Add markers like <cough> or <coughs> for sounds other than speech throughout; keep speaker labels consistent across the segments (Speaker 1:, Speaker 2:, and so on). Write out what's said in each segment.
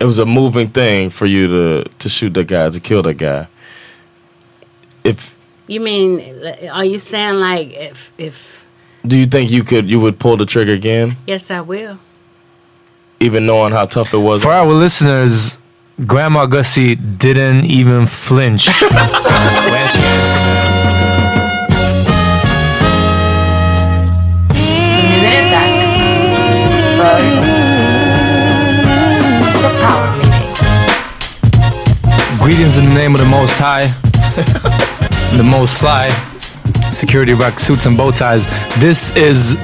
Speaker 1: It was a moving thing for you to to shoot that guy, to kill that guy. If
Speaker 2: You mean are you saying like if if
Speaker 1: do you think you could you would pull the trigger again?
Speaker 2: Yes, I will.
Speaker 1: even knowing how tough it was.
Speaker 3: For our listeners, Grandma Gussie didn't
Speaker 1: <laughs>
Speaker 3: even flinch. Greetings in the name of the Most High, the Most Fly, Security Rock Suits and Bow Ties. This is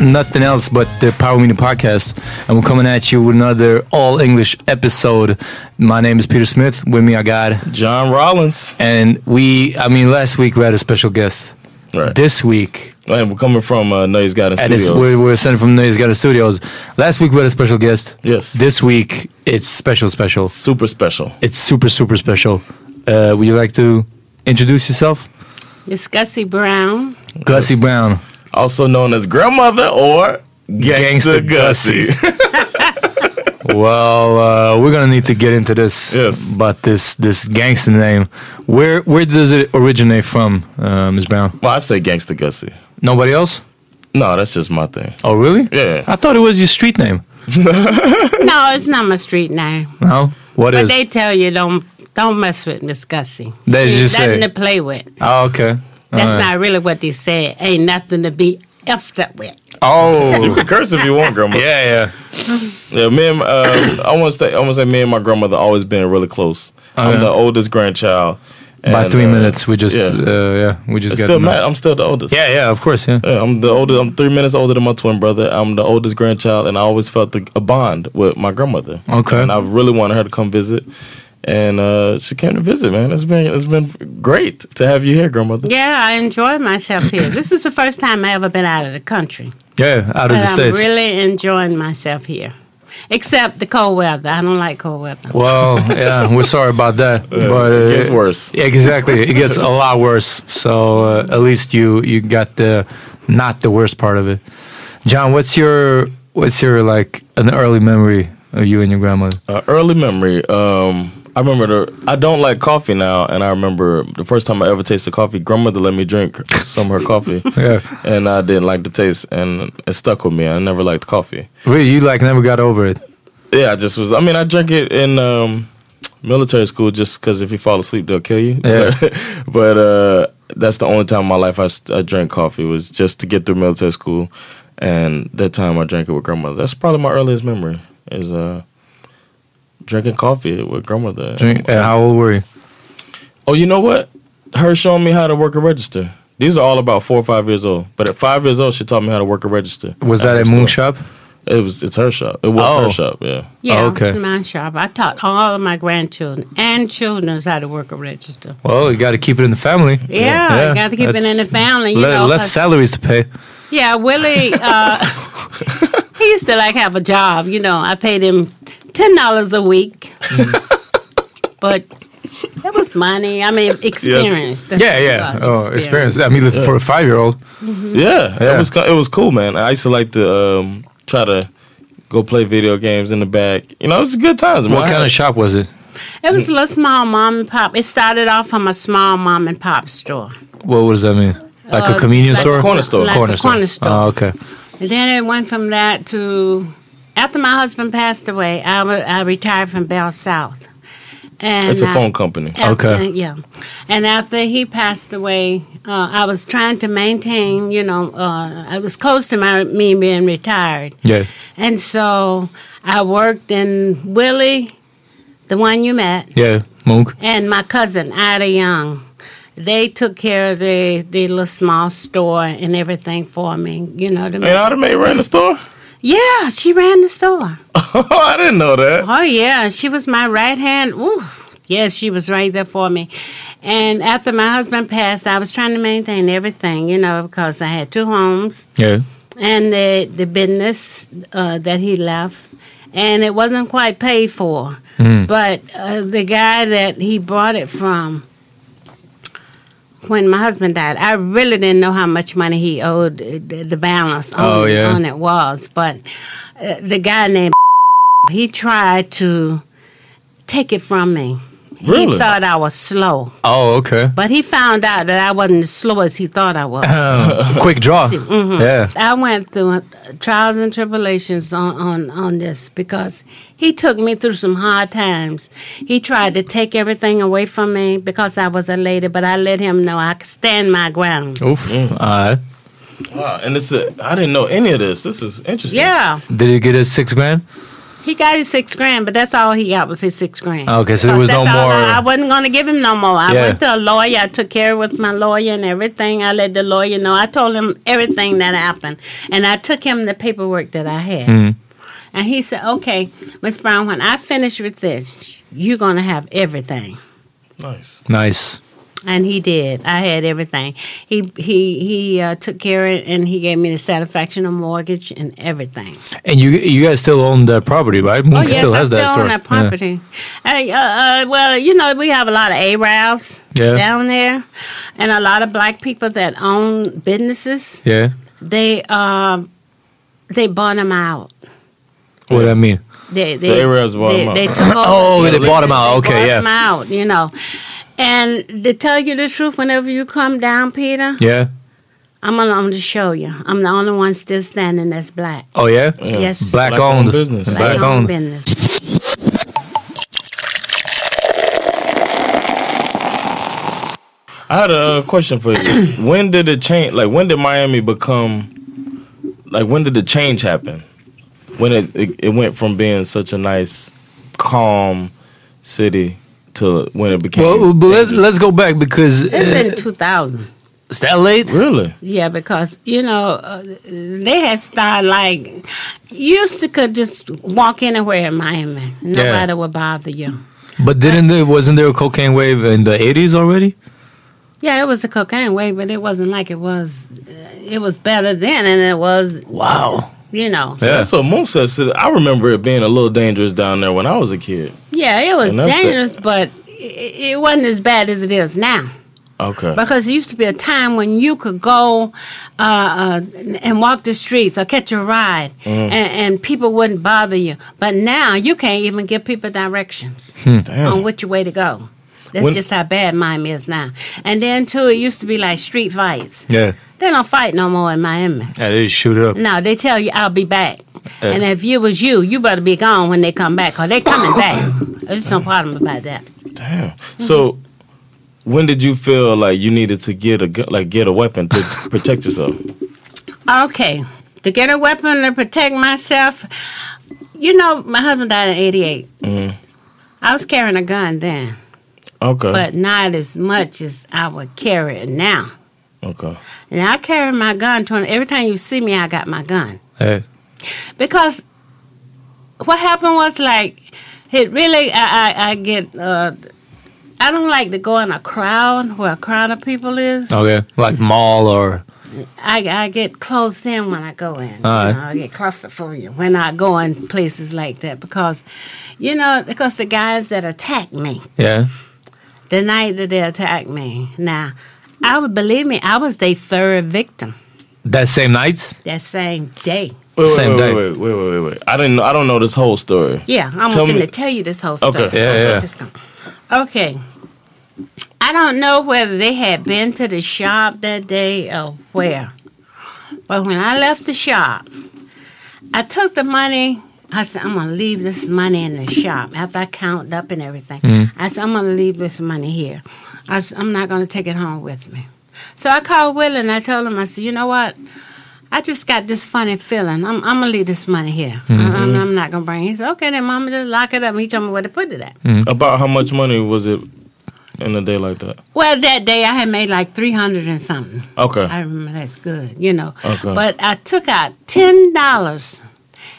Speaker 3: nothing else but the Power Meeting Podcast. And we're coming at you with another all English episode. My name is Peter Smith. With me, I got
Speaker 1: John Rollins.
Speaker 3: And we, I mean, last week we had a special guest.
Speaker 1: Right.
Speaker 3: This week.
Speaker 1: And we're coming from uh, Noise Garden Studios.
Speaker 3: we're, we're sending from Noise Garden Studios. Last week we had a special guest.
Speaker 1: Yes.
Speaker 3: This week it's special, special.
Speaker 1: Super special.
Speaker 3: It's super, super special. Uh, would you like to introduce yourself?
Speaker 2: It's Gussie
Speaker 3: <laughs>
Speaker 2: Brown.
Speaker 3: Gussie Brown
Speaker 1: also known as grandmother or gangster, gangster Gussie. <laughs>
Speaker 3: well, uh, we're gonna need to get into this.
Speaker 1: Yes.
Speaker 3: But this this gangster name, where where does it originate from, uh, Ms. Brown?
Speaker 1: Well, I say gangster Gussie.
Speaker 3: Nobody else?
Speaker 1: No, that's just my thing.
Speaker 3: Oh, really?
Speaker 1: Yeah. I
Speaker 3: thought it was your street name.
Speaker 2: no, it's not my street name.
Speaker 3: No, what
Speaker 2: but
Speaker 3: is?
Speaker 2: they tell you don't don't mess with Miss Gussie.
Speaker 3: They just
Speaker 2: nothing
Speaker 3: say
Speaker 2: to play with.
Speaker 3: Oh, okay.
Speaker 2: That's right. not really what they said. Ain't nothing to be effed up with.
Speaker 3: Oh,
Speaker 1: you can curse if you want, grandma.
Speaker 3: yeah,
Speaker 1: yeah. yeah, me and uh, I want to say I want to say me and my grandmother always been really close. Okay. I'm the oldest grandchild.
Speaker 3: By three uh, minutes, we just yeah, uh, yeah we just
Speaker 1: still mad. I'm still the oldest.
Speaker 3: Yeah, yeah, of course. Yeah.
Speaker 1: yeah, I'm the oldest. I'm three minutes older than my twin brother. I'm the oldest grandchild, and I always felt the, a bond with my grandmother.
Speaker 3: Okay,
Speaker 1: and I really wanted her to come visit and uh, she came to visit. Man, it's been it's been great to have you here, grandmother.
Speaker 2: Yeah, I enjoy myself
Speaker 3: <coughs>
Speaker 2: here. this is the first time I ever been out of the country.
Speaker 3: Yeah, out of
Speaker 2: But
Speaker 3: the
Speaker 2: I'm
Speaker 3: states.
Speaker 2: really enjoying myself here. Except the cold weather. I don't like cold weather.
Speaker 1: <laughs>
Speaker 3: well, yeah, we're sorry about that, but uh,
Speaker 1: it gets worse.
Speaker 3: Yeah, exactly, it gets a lot worse. So uh, at least you you got the not the worst part of it. John, what's your what's your like an early memory of you and your grandmother?
Speaker 1: Uh, early memory. Um, I remember the. I don't like coffee now, and I remember the first time I ever tasted coffee. Grandmother let me drink some of her
Speaker 3: <laughs>
Speaker 1: coffee,
Speaker 3: Yeah.
Speaker 1: and I didn't like the taste, and it stuck with me. I never liked coffee.
Speaker 3: Really, you like never got over it.
Speaker 1: Yeah, I just was. I mean, I drank it in um, military school just because if you fall asleep, they'll kill you.
Speaker 3: Yeah.
Speaker 1: <laughs> but uh, that's the only time in my life I, s- I drank coffee was just to get through military school, and that time I drank it with grandmother. That's probably my earliest memory is uh, drinking coffee with grandmother.
Speaker 3: Drink- uh, How old were you?
Speaker 1: Oh, you know what? Her showing me how to work a register. These are all about four or five years old. But at five years old, she taught me how to work a register.
Speaker 3: Was
Speaker 1: at
Speaker 3: that
Speaker 1: her
Speaker 3: at Moon
Speaker 1: store.
Speaker 3: Shop?
Speaker 1: It was. It's her shop. It was
Speaker 3: Oh.
Speaker 1: her shop. Yeah.
Speaker 2: Yeah,
Speaker 3: Oh, okay.
Speaker 2: my shop. I taught all of my grandchildren and children how to work a register.
Speaker 3: Well, you got to keep it in the family.
Speaker 2: Yeah, you got to keep it in the
Speaker 3: that's-
Speaker 2: family. You
Speaker 3: le-
Speaker 2: know, uh,
Speaker 3: less
Speaker 2: 'cause-
Speaker 3: salaries to pay.
Speaker 2: Yeah, Willie.
Speaker 3: <laughs>
Speaker 2: Uh, he used to like have a job. You know, I paid him ten dollars a week,
Speaker 3: <laughs>
Speaker 2: but it was money. I mean, experience. That's
Speaker 3: Yeah,
Speaker 2: what it's
Speaker 3: yeah.
Speaker 2: about,
Speaker 3: Oh, experience. I mean, for a five-year-old.
Speaker 1: Mm-hmm. Yeah,
Speaker 3: Yeah.
Speaker 1: it was co- it was cool, man. I used to like to um, try to go play video games in the back. You know, it was good times. Man.
Speaker 3: What kind of shop was it?
Speaker 2: It was a little small mom and pop. It started off from a small mom and pop store.
Speaker 3: What, what does that mean? Like
Speaker 2: Uh,
Speaker 3: a convenience
Speaker 2: like
Speaker 3: store?
Speaker 2: a
Speaker 1: Corner store.
Speaker 2: Like a corner store.
Speaker 3: Oh, okay.
Speaker 2: And then it went from that to after my husband passed away, I wa- I retired from Bell South. And
Speaker 1: It's a
Speaker 2: I-
Speaker 1: phone company.
Speaker 2: after-
Speaker 3: Okay.
Speaker 2: Yeah. And after he passed away, uh, I was trying to maintain, you know, uh, I was close to my me being retired.
Speaker 3: Yeah.
Speaker 2: And so I worked in Willie, the one you met,
Speaker 3: Yeah. Monk.
Speaker 2: and my cousin Ida Young. They took care of the, the little small store and everything for me. You know what I mean?
Speaker 1: And Automate ran the store. <laughs>
Speaker 2: Yeah, she ran the store.
Speaker 1: Oh, I didn't know that.
Speaker 2: Oh yeah, she was my right hand. Ooh, yes, she was right there for me. And after my husband passed, I was trying to maintain everything, you know, because I had two homes
Speaker 3: Yeah.
Speaker 2: and the the business uh, that he left, and it wasn't quite paid for.
Speaker 3: Hmm. Mm.
Speaker 2: But uh, the guy that he bought it from, when my husband died, I really didn't know how much money he owed uh, the, the balance on,
Speaker 3: Oh, yeah.
Speaker 2: on it was. But uh, the guy named <laughs> he tried to take it from me.
Speaker 1: Really?
Speaker 2: He thought I was slow,
Speaker 3: Oh, okay.
Speaker 2: but he found out that I wasn't as slow as he thought I was.
Speaker 3: <laughs>
Speaker 2: mm-hmm.
Speaker 3: Quick draw. Yeah.
Speaker 2: I went through uh, trials and tribulations on, on, on this because he took me through some hard times. He tried to take everything away from me because I was a lady, but I let him know I could stand my ground.
Speaker 3: Oof. All right.
Speaker 1: Mm. Wow, and it's a, I didn't know any of this. This is interesting.
Speaker 2: Yeah.
Speaker 3: Did he get his six grand?
Speaker 2: He got his six grand, but that's all he got was his six grand.
Speaker 3: Okay, so there was
Speaker 2: Because
Speaker 3: no
Speaker 2: that's all
Speaker 3: more-
Speaker 2: I, I wasn't going to give him no more. I
Speaker 3: Yeah.
Speaker 2: went to a lawyer. I took care with my lawyer and everything. I let the lawyer know. I told him everything that happened, and I took him the paperwork that I had.
Speaker 3: Mm-hmm.
Speaker 2: And he said, "Okay, Miss Brown, when I finish with this, you're going to have everything."
Speaker 1: Nice.
Speaker 3: Nice.
Speaker 2: And he did. I had everything. He he he uh, took care of it, and he gave me the satisfaction of mortgage and everything.
Speaker 3: And you you guys still own that property, right? Monk
Speaker 2: oh, yes,
Speaker 3: still
Speaker 2: I
Speaker 3: has
Speaker 2: still
Speaker 3: that store.
Speaker 2: own that property. Hey, uh, uh, well, you know, we have a lot of Arabs
Speaker 3: Yeah.
Speaker 2: down there, and a lot of black people that own businesses.
Speaker 3: Yeah. yeah.
Speaker 2: They um, they bought them out.
Speaker 3: What do I mean?
Speaker 2: They, they,
Speaker 1: The Arabs bought
Speaker 2: they,
Speaker 1: 'em out.
Speaker 3: <laughs>
Speaker 2: They took over.
Speaker 3: Oh,
Speaker 2: their
Speaker 3: they bought 'em
Speaker 2: business,
Speaker 3: out.
Speaker 2: they
Speaker 3: Okay,
Speaker 2: bought
Speaker 3: yeah.
Speaker 2: 'em out, you know. And to tell you the truth, whenever you come down, Peter,
Speaker 3: Yeah.
Speaker 2: I'm going to show you. I'm the only one still standing that's black.
Speaker 3: Oh, yeah?
Speaker 2: Yes.
Speaker 3: Black,
Speaker 1: Black-owned
Speaker 3: owned.
Speaker 1: business.
Speaker 3: Black
Speaker 2: Black-owned
Speaker 3: owned.
Speaker 2: business.
Speaker 1: I had a uh, question for you. when did it change? Like, when did Miami become? Like, when did the change happen? When it it, it went from being such a nice, calm city to when it became
Speaker 3: Well, but let's, let's go back because
Speaker 2: It's
Speaker 3: uh,
Speaker 2: been 2000.
Speaker 3: it's that late.
Speaker 1: really.
Speaker 2: Yeah, because you know uh, they had started like you used to could just walk anywhere in Miami, nobody would bother you.
Speaker 3: But didn't there wasn't there a cocaine wave in the eighties already?
Speaker 2: Yeah, it was the cocaine way, but it wasn't like it was. uh, It was better then, and it was,
Speaker 3: Wow.
Speaker 2: you know.
Speaker 3: Yeah.
Speaker 1: That's what Moon says. I remember it being a little dangerous down there when I was a kid.
Speaker 2: Yeah, it was
Speaker 1: And that's the-
Speaker 2: dangerous, but i- it wasn't as bad as it is now.
Speaker 1: Okay.
Speaker 2: Because there used to be a time when you could go uh, uh, and walk the streets or catch a ride,
Speaker 1: Mm.
Speaker 2: and, and people wouldn't bother you. But now you can't even give people directions on
Speaker 1: Damn.
Speaker 2: which way to go. That's
Speaker 1: When-
Speaker 2: just how bad Miami is now. And then too, it used to be like street fights.
Speaker 3: Yeah.
Speaker 2: They don't fight no more in Miami.
Speaker 3: Yeah, they shoot up.
Speaker 2: No, they tell you I'll be back. and if you was you, you better be gone when they come back, or they coming
Speaker 1: <coughs>
Speaker 2: back. There's no problem about that.
Speaker 1: Damn. So, when did you feel like you needed to get a gu- like get a weapon to protect yourself?
Speaker 2: Okay, to get a weapon to protect myself, you know, my husband died in '88. I was carrying a gun then,
Speaker 1: Mm-hmm. Okay.
Speaker 2: but not as much as I would carry it now.
Speaker 1: okay.
Speaker 2: And I carry my gun. 20, every time you see me, I got my gun.
Speaker 3: Yeah.
Speaker 2: because what happened was like it really I I, I get uh, I don't like to go in a crowd where a crowd of people is.
Speaker 3: Okay. Like mall or
Speaker 2: I I get closed in when I go in. you
Speaker 3: Alright.
Speaker 2: know, I get claustrophobic when I go in places like that because you know because the guys that attack me
Speaker 3: yeah.
Speaker 2: the night that they attacked me now. I would believe me, I was their third victim
Speaker 3: That same night?
Speaker 2: that same day.
Speaker 1: Wait, wait,
Speaker 3: Same
Speaker 1: wait,
Speaker 3: day.
Speaker 1: wait, wait, wait, wait, wait. I didn't. I don't know this whole story.
Speaker 2: Yeah, I'm
Speaker 1: Tell
Speaker 2: going
Speaker 1: me-
Speaker 2: to tell you this whole story.
Speaker 1: Okay.
Speaker 3: Yeah,
Speaker 2: Okay,
Speaker 3: yeah.
Speaker 2: just go. okay. I don't know whether they had been to the shop that day or where, but when I left the shop, I took the money. I said, I'm going to leave this money in the shop after I counted up and everything.
Speaker 3: Mm.
Speaker 2: I said, I'm going to leave this money here. I said, I'm not going to take it home with me. So I called Will and I told him, I said, you know what? I just got this funny feeling. I'm, I'm gonna leave this money here. I, am I'm not gonna bring. it. He said, "Okay, then, Mama, just lock it up." He told me where to put it at.
Speaker 3: Mm.
Speaker 1: About how much money was it in a day like that?
Speaker 2: Well, that day I had made like three hundred and something.
Speaker 1: Okay. Uh-huh.
Speaker 2: I remember that's good, you know.
Speaker 1: Okay.
Speaker 2: But I took out ten dollars,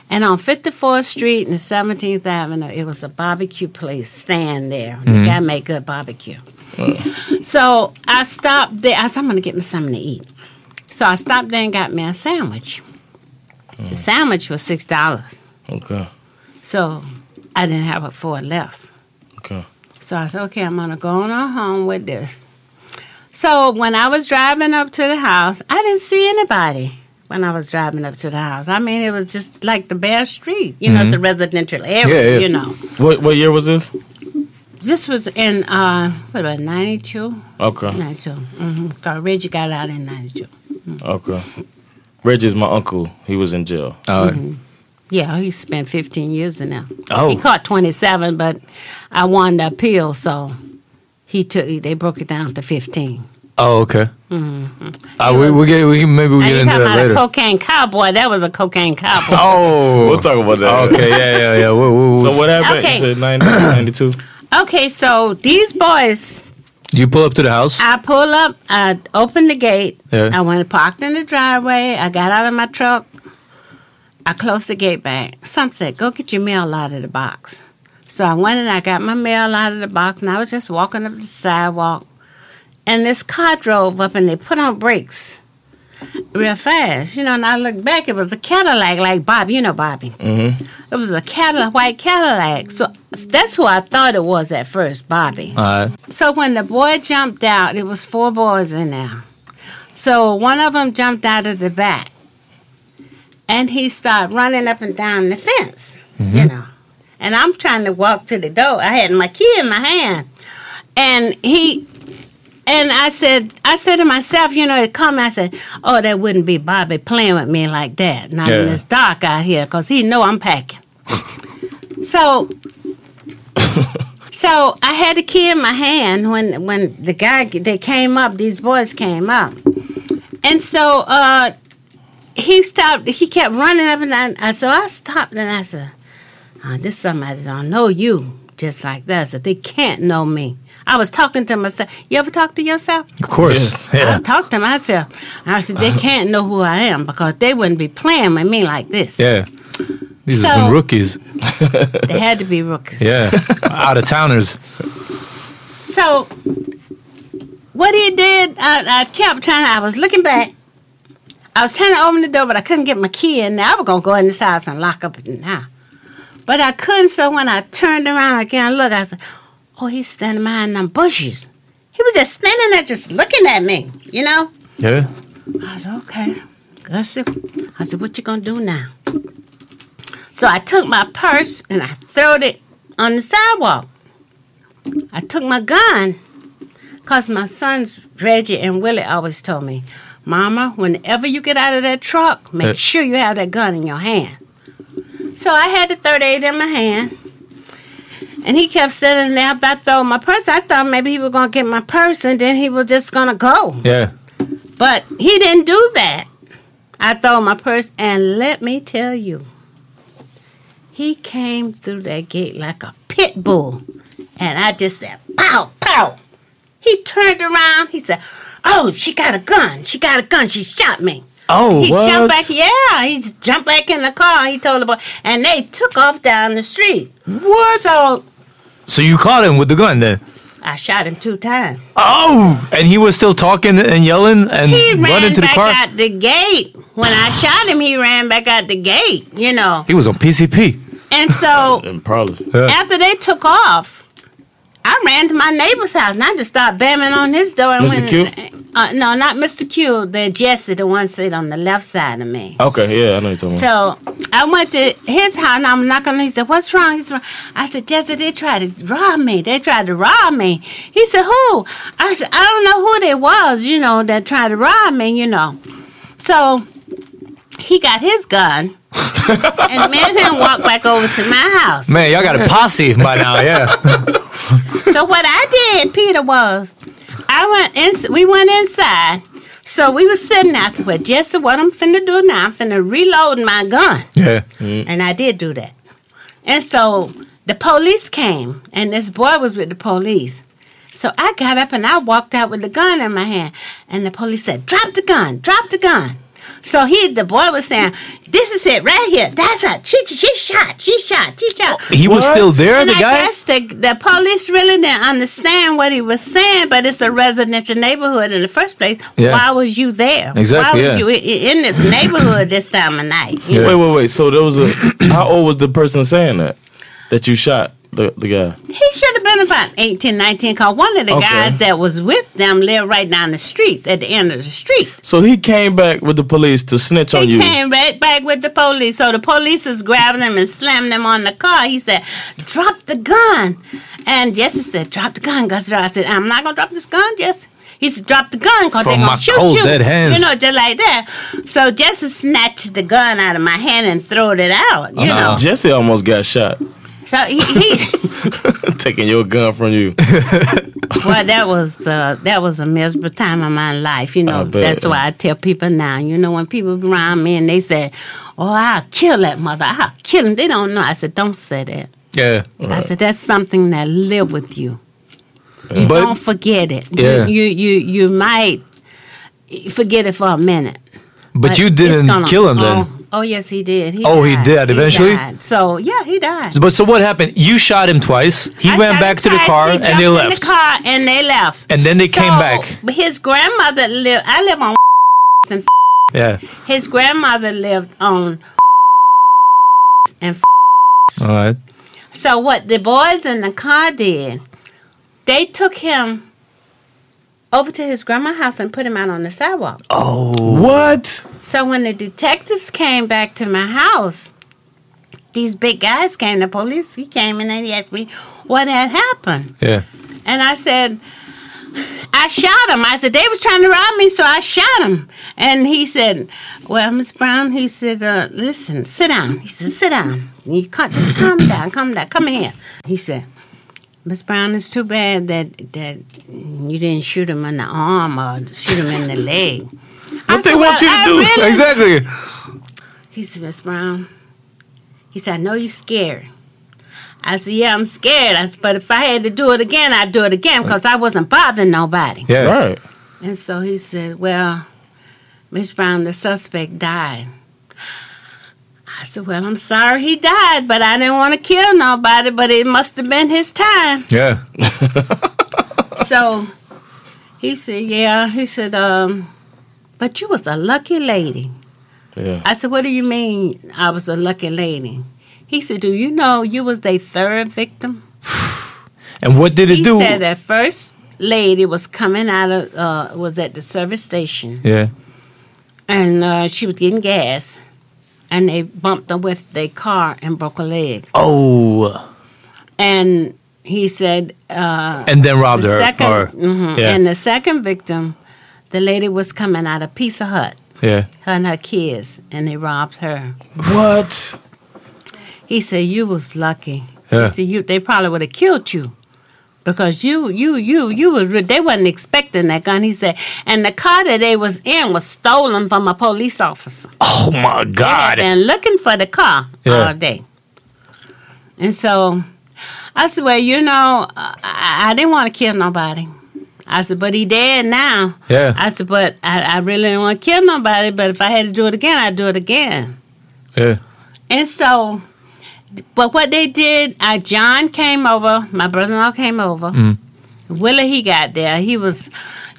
Speaker 2: and on Fifty Fourth Street and Seventeenth Avenue, it was a barbecue place stand there. The guy made good barbecue. So I stopped there. I said, "I'm gonna get me something to eat." So I stopped there and got me a sandwich. The sandwich was six dollars.
Speaker 1: okay.
Speaker 2: So I didn't have a four left.
Speaker 1: Okay.
Speaker 2: So I said, okay, I'm gonna go on home with this. So when I was driving up to the house, I didn't see anybody when I was driving up to the house. I mean, it was just like the bare street. You know, it's a residential area,
Speaker 3: Mm-hmm. Yeah, yeah.
Speaker 2: you know.
Speaker 1: What what year was this?
Speaker 2: This was in, uh, what, about 92?
Speaker 1: Okay.
Speaker 2: 92. Mm-hmm. Cause Reggie got out in 92.
Speaker 1: Okay. Reggie's my uncle. He was in jail.
Speaker 3: Uh,
Speaker 2: Mm-hmm. Yeah, he spent 15 years in there.
Speaker 3: Oh.
Speaker 2: He caught 27, but I won the appeal, so he took, they broke it down to 15.
Speaker 3: Oh, okay.
Speaker 2: Mm-hmm.
Speaker 3: Uh, we we get we can- maybe we
Speaker 2: Now
Speaker 3: get
Speaker 2: you
Speaker 3: into
Speaker 2: talking
Speaker 3: that
Speaker 2: about
Speaker 3: later.
Speaker 2: a cocaine cowboy. That was a cocaine cowboy.
Speaker 3: <laughs> oh.
Speaker 1: We'll talk about that.
Speaker 3: Okay. Yeah. Yeah. Yeah. Woo, woo, woo.
Speaker 1: So what happened?
Speaker 2: Okay.
Speaker 1: You said 90, 92?
Speaker 2: okay, so these boys,
Speaker 3: you pull up to the house.
Speaker 2: I pull up, I open the gate,
Speaker 3: Yeah.
Speaker 2: I went and parked in the driveway, I got out of my truck, I closed the gate back. Some said, go get your mail out of the box. So I went and I got my mail out of the box, and I was just walking up the sidewalk. And this car drove up and they put on brakes real fast, you know. And I looked back, it was a Cadillac, like Bob, you know, Bobby. Mm-hmm. It was a Cadillac, white Cadillac. So that's who I thought it was at first, Bobby.
Speaker 3: All right.
Speaker 2: So when the boy jumped out, it was four boys in there. So one of them jumped out of the back, and he started running up and down the fence, you know. And I'm trying to walk to the door. I had my key in my hand, and he. And I said, I said to myself, you know, it come. I said, oh, that wouldn't be Bobby playing with me like that. Now
Speaker 3: Yeah.
Speaker 2: when it's dark out here, cause he know I'm packing. so so I had a key in my hand when when the guy they came up. These boys came up, and so uh, he stopped. He kept running up and down. Uh, So I stopped and I said, uh, "This somebody don't know you just like that. So they can't know me." I was talking to myself. You ever talk to yourself?
Speaker 3: Of course.
Speaker 2: I talked to myself. I said, "They can't know who I am because they wouldn't be playing with me like this."
Speaker 3: Yeah. Yeah. These are
Speaker 2: So-
Speaker 3: some rookies.
Speaker 2: They had to be rookies.
Speaker 3: Yeah, out of towners.
Speaker 2: So what he did, I, I kept trying. I was looking back. I was trying to open the door, but I couldn't get my key in. Now I was gonna go in this house and lock up now, but I couldn't. So when I turned around again, look, I said, "Oh, he's standing behind them bushes." He was just standing there, just looking at me. You know.
Speaker 3: Yeah.
Speaker 2: I said, okay. I said, I said, what you gonna do now? So I took my purse and I threw it on the sidewalk. I took my gun, cause my sons Reggie and Willie always told me, Mama, whenever you get out of that truck, make
Speaker 3: Uh.
Speaker 2: sure you have that gun in your hand. So I had the 38 in my hand. And he kept sitting there. After I threw my purse, I thought maybe he was gonna get my purse and then he was just gonna go.
Speaker 3: Yeah.
Speaker 2: But he didn't do that. I throw my purse, and let me tell you, he came through that gate like a pit bull. And I just said, pow, pow. He turned around. He said, oh, she got a gun. She got a gun. She shot me.
Speaker 3: Oh,
Speaker 2: He jumped back. Yeah, he just jumped back in the car. He told the boy, and they took off down the street. What? So
Speaker 3: So you caught him with the gun then?
Speaker 2: I shot him two times.
Speaker 3: Oh, and he was still talking and yelling and
Speaker 2: He
Speaker 3: running
Speaker 2: ran
Speaker 3: to the
Speaker 2: back
Speaker 3: car.
Speaker 2: out the gate. When I shot him, he ran back out the gate, you know.
Speaker 3: He was on PCP.
Speaker 2: And so
Speaker 1: And probably.
Speaker 2: after they took off, I ran to my neighbor's house and I just started banging on his door. And
Speaker 1: Mr. Q?
Speaker 2: Uh, no, not Mr. Q. The Jesse, the one sitting on the left side of me.
Speaker 1: Okay, yeah, I know you're talking about.
Speaker 2: So I went to his house and I'm knocking on. He said, "What's wrong?" He said, "I said, Jesse, they tried to rob me. They tried to rob me." He said, "Who?" I said, "I don't know who they was. You know, that tried to rob me. You know." So he got his gun, and me and him walked back over to my house.
Speaker 3: Man, y'all got a posse by now,
Speaker 2: <laughs>
Speaker 3: yeah.
Speaker 2: So what I did, Peter, was I went in. We went inside. So we was sitting. there. I said, "Well, Jesse, what I'm finna do now? I'm finna reload my gun."
Speaker 3: Yeah.
Speaker 2: And I did do that. And so the police came, and this boy was with the police. So I got up and I walked out with the gun in my hand. And the police said, Drop the gun, drop the gun. So he, the boy was saying, This is it right here. That's it. She, she shot, she shot, she shot.
Speaker 3: Oh, He was still there,
Speaker 2: and
Speaker 3: the
Speaker 2: I
Speaker 3: guy?
Speaker 2: guess the, the police really didn't understand what he was saying, but it's a residential neighborhood in the first place.
Speaker 3: Yeah.
Speaker 2: Why was you there?
Speaker 3: Exactly,
Speaker 2: Why
Speaker 3: yeah.
Speaker 2: was you i- i- in this neighborhood this time of night? You
Speaker 1: Wait, wait, wait. So there was a. <clears throat> how old was the person saying that? That you shot the, the guy?
Speaker 2: He should have been about 18, 19, because one of the
Speaker 1: Okay.
Speaker 2: guys that was with them lived right down the streets, at the end of the street.
Speaker 1: So he came back with the police to snitch
Speaker 3: Oh,
Speaker 1: on
Speaker 2: He
Speaker 1: you.
Speaker 2: came right back with the police. So the police is grabbing him and slamming him on the car. He said, Drop the gun. And Jesse said, Drop the gun, Gus. I said, I'm not going to drop this gun, Jesse. He said, Drop the gun because they're
Speaker 3: From my
Speaker 2: going to shoot
Speaker 3: cold
Speaker 2: you.
Speaker 3: dead hands.
Speaker 2: You know, just like that. So Jesse snatched the gun out of my hand and threw it out, you
Speaker 3: Uh-huh.
Speaker 2: know.
Speaker 1: Jesse almost got shot, <laughs>
Speaker 2: So he.
Speaker 3: <laughs>
Speaker 2: he
Speaker 1: taking your gun from you.
Speaker 2: well, that was uh, that was a miserable time of my life. You
Speaker 1: I
Speaker 2: know,
Speaker 1: bet.
Speaker 2: that's why I tell people now. You know, when people around me and they say, "Oh, I'll kill that mother. I'll kill him," they don't know. I said, "Don't say that."
Speaker 3: Yeah.
Speaker 2: I said, "That's something that live with you. don't
Speaker 3: But
Speaker 2: forget it.
Speaker 3: Yeah.
Speaker 2: You, you you you might forget it for a minute."
Speaker 3: but you
Speaker 2: it's
Speaker 3: didn't
Speaker 2: gonna-
Speaker 3: kill him
Speaker 2: oh,
Speaker 3: then.
Speaker 2: Oh, yes, he did.
Speaker 3: Oh, he
Speaker 2: died.
Speaker 3: did eventually?
Speaker 2: died. So yeah, he died.
Speaker 3: But so what happened? You shot him twice. He
Speaker 2: I
Speaker 3: ran
Speaker 2: shot
Speaker 3: back
Speaker 2: him
Speaker 3: to the
Speaker 2: twice,
Speaker 3: car
Speaker 2: he
Speaker 3: and
Speaker 2: jumped
Speaker 3: they
Speaker 2: in the
Speaker 3: left.
Speaker 2: car and they left.
Speaker 3: And then they came
Speaker 2: So,
Speaker 3: back.
Speaker 2: His grandmother lived. I live on. <laughs> and
Speaker 3: Yeah.
Speaker 2: His grandmother lived on. And
Speaker 3: All right.
Speaker 2: so what the boys in the car did, they took him over to his grandma's house and put him out on the sidewalk.
Speaker 1: What?
Speaker 2: So when the detectives came back to my house, these big guys came. The police he came and they asked me what had happened.
Speaker 3: Yeah.
Speaker 2: And I said, I shot him. I said, they was trying to rob me, so I shot him. And he said, well, Miss Brown, he said, uh, listen, sit down. He said, sit down. You can't just calm down, calm down, come here. He said, Miss Brown, it's too bad that that you didn't shoot him in the arm or shoot him in the leg. What
Speaker 1: they want you to do?
Speaker 3: Exactly.
Speaker 2: he said, Miss Brown, he said, I know you're scared. I said, Yeah, I'm scared. I said, But if I had to do it again, I'd do it again because I wasn't bothering nobody.
Speaker 3: Yeah.
Speaker 1: Right.
Speaker 2: And so he said, Well, Miss Brown, the suspect died. I said, Well, I'm sorry he died, but I didn't want to kill nobody, but it must have been his time.
Speaker 3: Yeah.
Speaker 2: so he said, Yeah. He said, um, But you was a lucky lady.
Speaker 1: Yeah.
Speaker 2: I said, What do you mean I was a lucky lady? He said, Do you know you was their third victim?
Speaker 3: And what did it
Speaker 2: he
Speaker 3: do?
Speaker 2: said that first lady was coming out of uh, was at the service station
Speaker 3: Yeah.
Speaker 2: and uh, she was getting gas and they bumped her with their car and broke her leg
Speaker 3: Oh.
Speaker 2: and he said uh,
Speaker 3: And then robbed
Speaker 2: the
Speaker 3: her.
Speaker 2: second
Speaker 3: or-
Speaker 2: mhm,
Speaker 3: yeah.
Speaker 2: and the second victim the lady was coming out of pizza hut
Speaker 3: yeah.
Speaker 2: her and her kids and they robbed her
Speaker 1: What?
Speaker 2: He said, "You was lucky."
Speaker 3: Yeah.
Speaker 2: He said, "You they probably would have killed you." Because you, you, you, you was re- they wasn't expecting that gun. He said, and the car that they was in was stolen from a police officer.
Speaker 3: Oh my
Speaker 2: I've
Speaker 3: God.
Speaker 2: been looking for the car
Speaker 3: Yeah.
Speaker 2: all day, and so I said, "Well, you know, I, I I didn't want to kill nobody." I said, "But he dead now."
Speaker 3: Yeah.
Speaker 2: I said, "But I, I really didn't want to kill nobody. But if I had to do it again, I'd do it again."
Speaker 3: Yeah.
Speaker 2: And so, but what they did, uh, John came over, my brother in law came over.
Speaker 4: Mm.
Speaker 3: Mm.
Speaker 2: Willie, he got there. He was,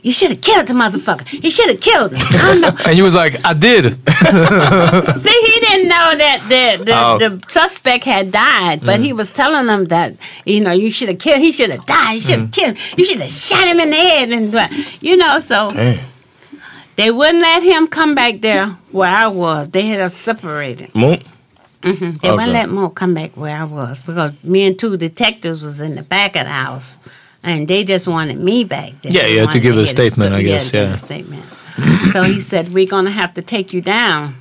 Speaker 2: you should have killed the motherfucker. He should have killed him. I don't know.
Speaker 3: And you was like, I
Speaker 2: <laughs>
Speaker 3: did.
Speaker 2: See, he didn't know that the, the,
Speaker 3: Oh.
Speaker 2: the suspect had died, but he was telling them that, you know, you should have killed, he should have died, you should have killed him, you should have shot him in the head. And, what- you know, so they wouldn't let him come back there where I was. They had us separated.
Speaker 1: Moon?
Speaker 2: They wouldn't
Speaker 1: Okay.
Speaker 2: let Mo come back where I was because me and two detectives was in the back of the house, and they just wanted me back there.
Speaker 3: Yeah,
Speaker 2: They
Speaker 3: you had to
Speaker 2: wanted
Speaker 3: give a
Speaker 2: get sto-
Speaker 3: statement, I
Speaker 2: yeah,
Speaker 3: guess,
Speaker 2: give
Speaker 3: yeah.
Speaker 2: a statement. so he said, "We're gonna have to take you down."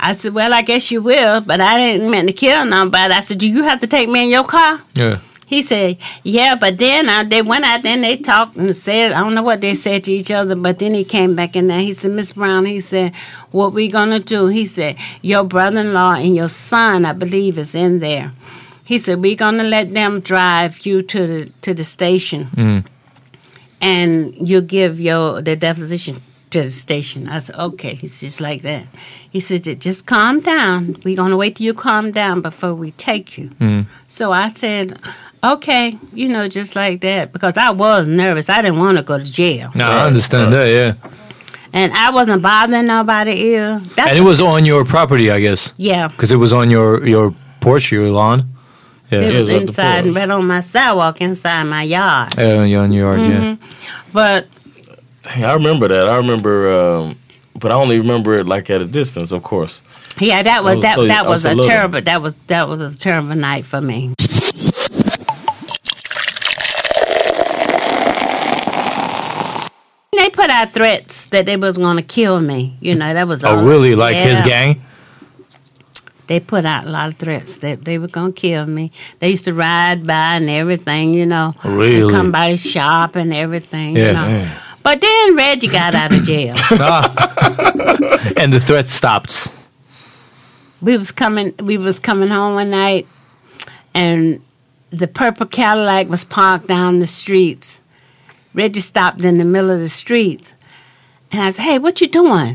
Speaker 2: I said, "Well, I guess you will," but I didn't mean to kill nobody. I said, "Do you have to take me in your car?"
Speaker 3: Yeah.
Speaker 2: He said, "Yeah," but then uh, they went out there and they talked and said, "I don't know what they said to each other." But then he came back in there. He said, "Miss Brown," he said, "What we gonna do?" He said, "Your brother-in-law and your son, I believe, is in there." He said, "We gonna let them drive you to the to the station, and you give your the deposition." To the station, I said, "Okay." He's just like that. He said, "Ju- "Just calm down. We're gonna wait till you calm down before we take you."
Speaker 3: Mm.
Speaker 2: So I said, okay, you know, just like that, because I was nervous. I didn't want to go to jail.
Speaker 3: No, I understand that. Yeah.
Speaker 2: And I wasn't bothering nobody either. That's
Speaker 3: And it was on your property, I guess,
Speaker 2: yeah.
Speaker 3: because it was on your your porch, your lawn.
Speaker 2: It
Speaker 3: Yeah.
Speaker 2: was
Speaker 1: up the
Speaker 2: inside,
Speaker 1: porch.
Speaker 2: right on my sidewalk, inside my yard. Mm-hmm.
Speaker 3: Yeah, on your, on your yard. Yeah.
Speaker 2: But
Speaker 1: Dang, I remember that. I remember, um, but I only remember it like at a distance, of course.
Speaker 2: yeah, that
Speaker 1: I
Speaker 2: was
Speaker 1: was
Speaker 2: that
Speaker 1: so-
Speaker 2: that
Speaker 1: I was
Speaker 2: was,
Speaker 1: a
Speaker 2: a
Speaker 1: little.
Speaker 2: terrible that was that was a terrible night for me. They put out threats that they was gonna kill me. You know, that was all.
Speaker 3: Oh, really? Like his
Speaker 2: Yeah.
Speaker 3: gang?
Speaker 2: they put out a lot of threats that they were gonna kill me. They used to ride by and everything, you know. and
Speaker 3: Really?
Speaker 2: come by the shop and everything,
Speaker 3: Yeah.
Speaker 2: you know. But then Reggie got out of jail. <coughs>
Speaker 3: <laughs> And the threat stopped.
Speaker 2: we was coming we was coming home one night and the purple Cadillac was parked down the streets. Reggie stopped in the middle of the street and I said, Hey, what you doing?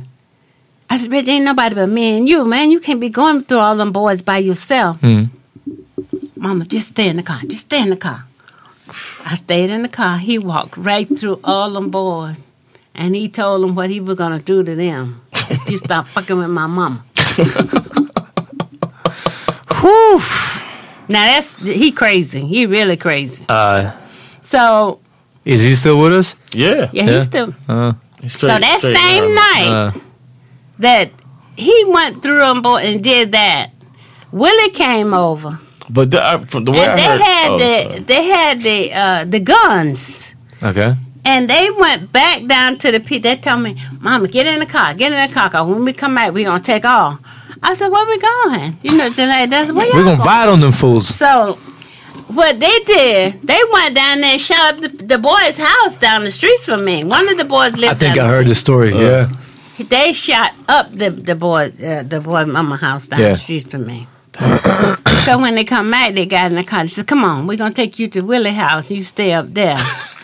Speaker 2: I said, Reggie, ain't nobody but me and you, man. You can't be going through all them boys by yourself.
Speaker 3: Mm.
Speaker 2: Mama, just stay in the car. Just stay in the car. I stayed in the car. He walked right through all them boys and he told them what he was gonna do to them if you stop fucking with my
Speaker 1: <laughs>
Speaker 2: mama. Whew. Now that's he crazy. He really crazy.
Speaker 3: Uh,
Speaker 2: So
Speaker 3: is he still with us?
Speaker 1: Yeah.
Speaker 2: yeah,
Speaker 3: Yeah.
Speaker 2: he's still.
Speaker 1: He's
Speaker 2: So
Speaker 1: straight-
Speaker 2: that
Speaker 1: straight
Speaker 2: same
Speaker 1: down.
Speaker 3: Uh.
Speaker 2: night that he went through them boy and did that, Willie came over
Speaker 1: But the, I, from the way I
Speaker 2: and they
Speaker 1: heard,
Speaker 2: had
Speaker 1: oh,
Speaker 2: the
Speaker 1: sorry.
Speaker 2: they had the uh, the guns.
Speaker 3: Okay.
Speaker 2: And they went back down to the pit. They told me, Mama, get in the car, get in the car, 'cause when we come back, we going to take off. I said, Where we going? You know, just like that's where
Speaker 3: <laughs> We're
Speaker 2: y'all
Speaker 3: going to ride on them fools.
Speaker 2: So what they did, they went down there and shot up the, the boy's house down the streets from me. One of the boys lived.
Speaker 3: I think
Speaker 2: down
Speaker 3: I
Speaker 2: the
Speaker 3: heard the story.
Speaker 1: Uh,
Speaker 3: yeah.
Speaker 2: street. They shot up the the boy uh, the boy mama house down
Speaker 3: Yeah.
Speaker 2: the streets from me. so when they come back, they got in the car. They said, "Come on, we're gonna take you to Willie house. You stay
Speaker 1: <laughs>
Speaker 2: up there,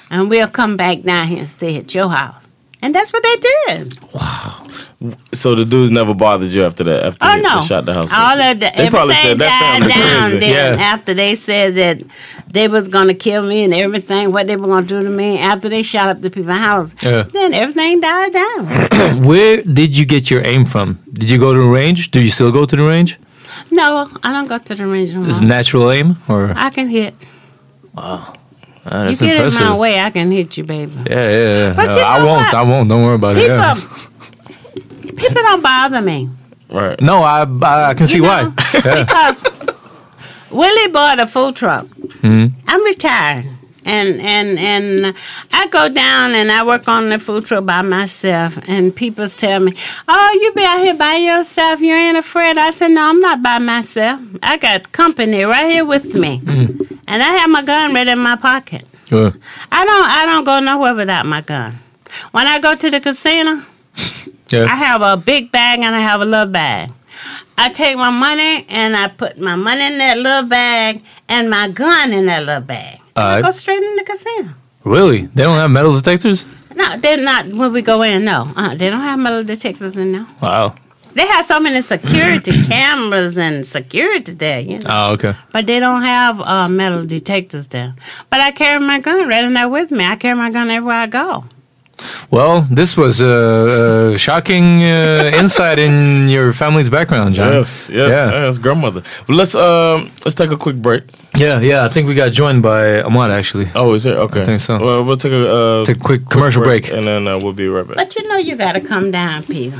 Speaker 2: and we'll come back down here and stay at your house." And that's what they did.
Speaker 1: So the dudes never bothered you after that. After
Speaker 2: Oh
Speaker 1: they,
Speaker 2: no!
Speaker 1: they shot the house.
Speaker 2: All
Speaker 1: up.
Speaker 2: of the,
Speaker 1: They probably said
Speaker 2: everything
Speaker 1: that
Speaker 2: died
Speaker 1: family
Speaker 2: down
Speaker 1: crazy.
Speaker 2: then
Speaker 3: Yeah.
Speaker 2: after they said that they was gonna kill me and everything. What they were gonna do to me after they shot up the people's house?
Speaker 3: Yeah.
Speaker 2: Then everything died
Speaker 1: <coughs>
Speaker 3: <clears throat>
Speaker 2: down.
Speaker 3: Where did you get your aim from? Did you go to the range? Do you still go to the range?
Speaker 2: no, I don't go to the range no
Speaker 3: Is it
Speaker 2: more.
Speaker 3: natural aim or
Speaker 2: I can hit.
Speaker 3: Ah, that's
Speaker 2: you get
Speaker 3: impressive?
Speaker 2: in my way, I can hit you, baby.
Speaker 3: Yeah, yeah, yeah.
Speaker 2: But
Speaker 3: Uh,
Speaker 2: you
Speaker 3: I
Speaker 2: know
Speaker 3: won't.
Speaker 2: what?
Speaker 3: I won't. Don't worry about it.
Speaker 2: People,
Speaker 3: Oh, Yeah.
Speaker 2: people don't bother
Speaker 3: <laughs>
Speaker 2: me.
Speaker 1: Right.
Speaker 3: No, I I, I can see
Speaker 2: You
Speaker 3: why. <laughs>
Speaker 2: know, because Willie bought a food truck.
Speaker 3: Hmm.
Speaker 2: I'm retired, and and and I go down and I work on the food truck by myself. And people tell me, "Oh, you be out here by yourself? You ain't afraid?" I said, "No, I'm not by myself. I got company right here with me,
Speaker 3: Mm.
Speaker 2: and I have my gun right in my pocket.
Speaker 3: Uh,
Speaker 2: I don't I don't go nowhere without my gun. When I go to the casino." I
Speaker 3: yeah.
Speaker 2: have a big bag and I have a little bag. I take my money and I put my money in that little bag and my gun in that little bag. And I
Speaker 3: Alright.
Speaker 2: go straight in the casino.
Speaker 3: Really? They don't have metal detectors?
Speaker 2: No, they're not when we go in. No, uh, they don't have metal detectors in there.
Speaker 3: Wow.
Speaker 2: They have so many
Speaker 3: <clears throat>
Speaker 2: security cameras and security there, you know.
Speaker 3: Oh, okay.
Speaker 2: But they don't have uh, metal detectors there. But I carry my gun right in there with me. I carry my gun everywhere I go.
Speaker 3: Well, this was a, uh shocking uh, insight in your family's background, John.
Speaker 1: Yes, yes, yes, grandmother. But let's um let's take a quick break.
Speaker 3: Yeah, yeah, yeah. I think we got joined by Ahmad actually.
Speaker 1: Oh, is it okay?
Speaker 3: think so.
Speaker 1: Well, we'll take a uh,
Speaker 3: Take a quick commercial break.
Speaker 1: and then uh, we'll be right back.
Speaker 2: But you know you got to come down, Peter.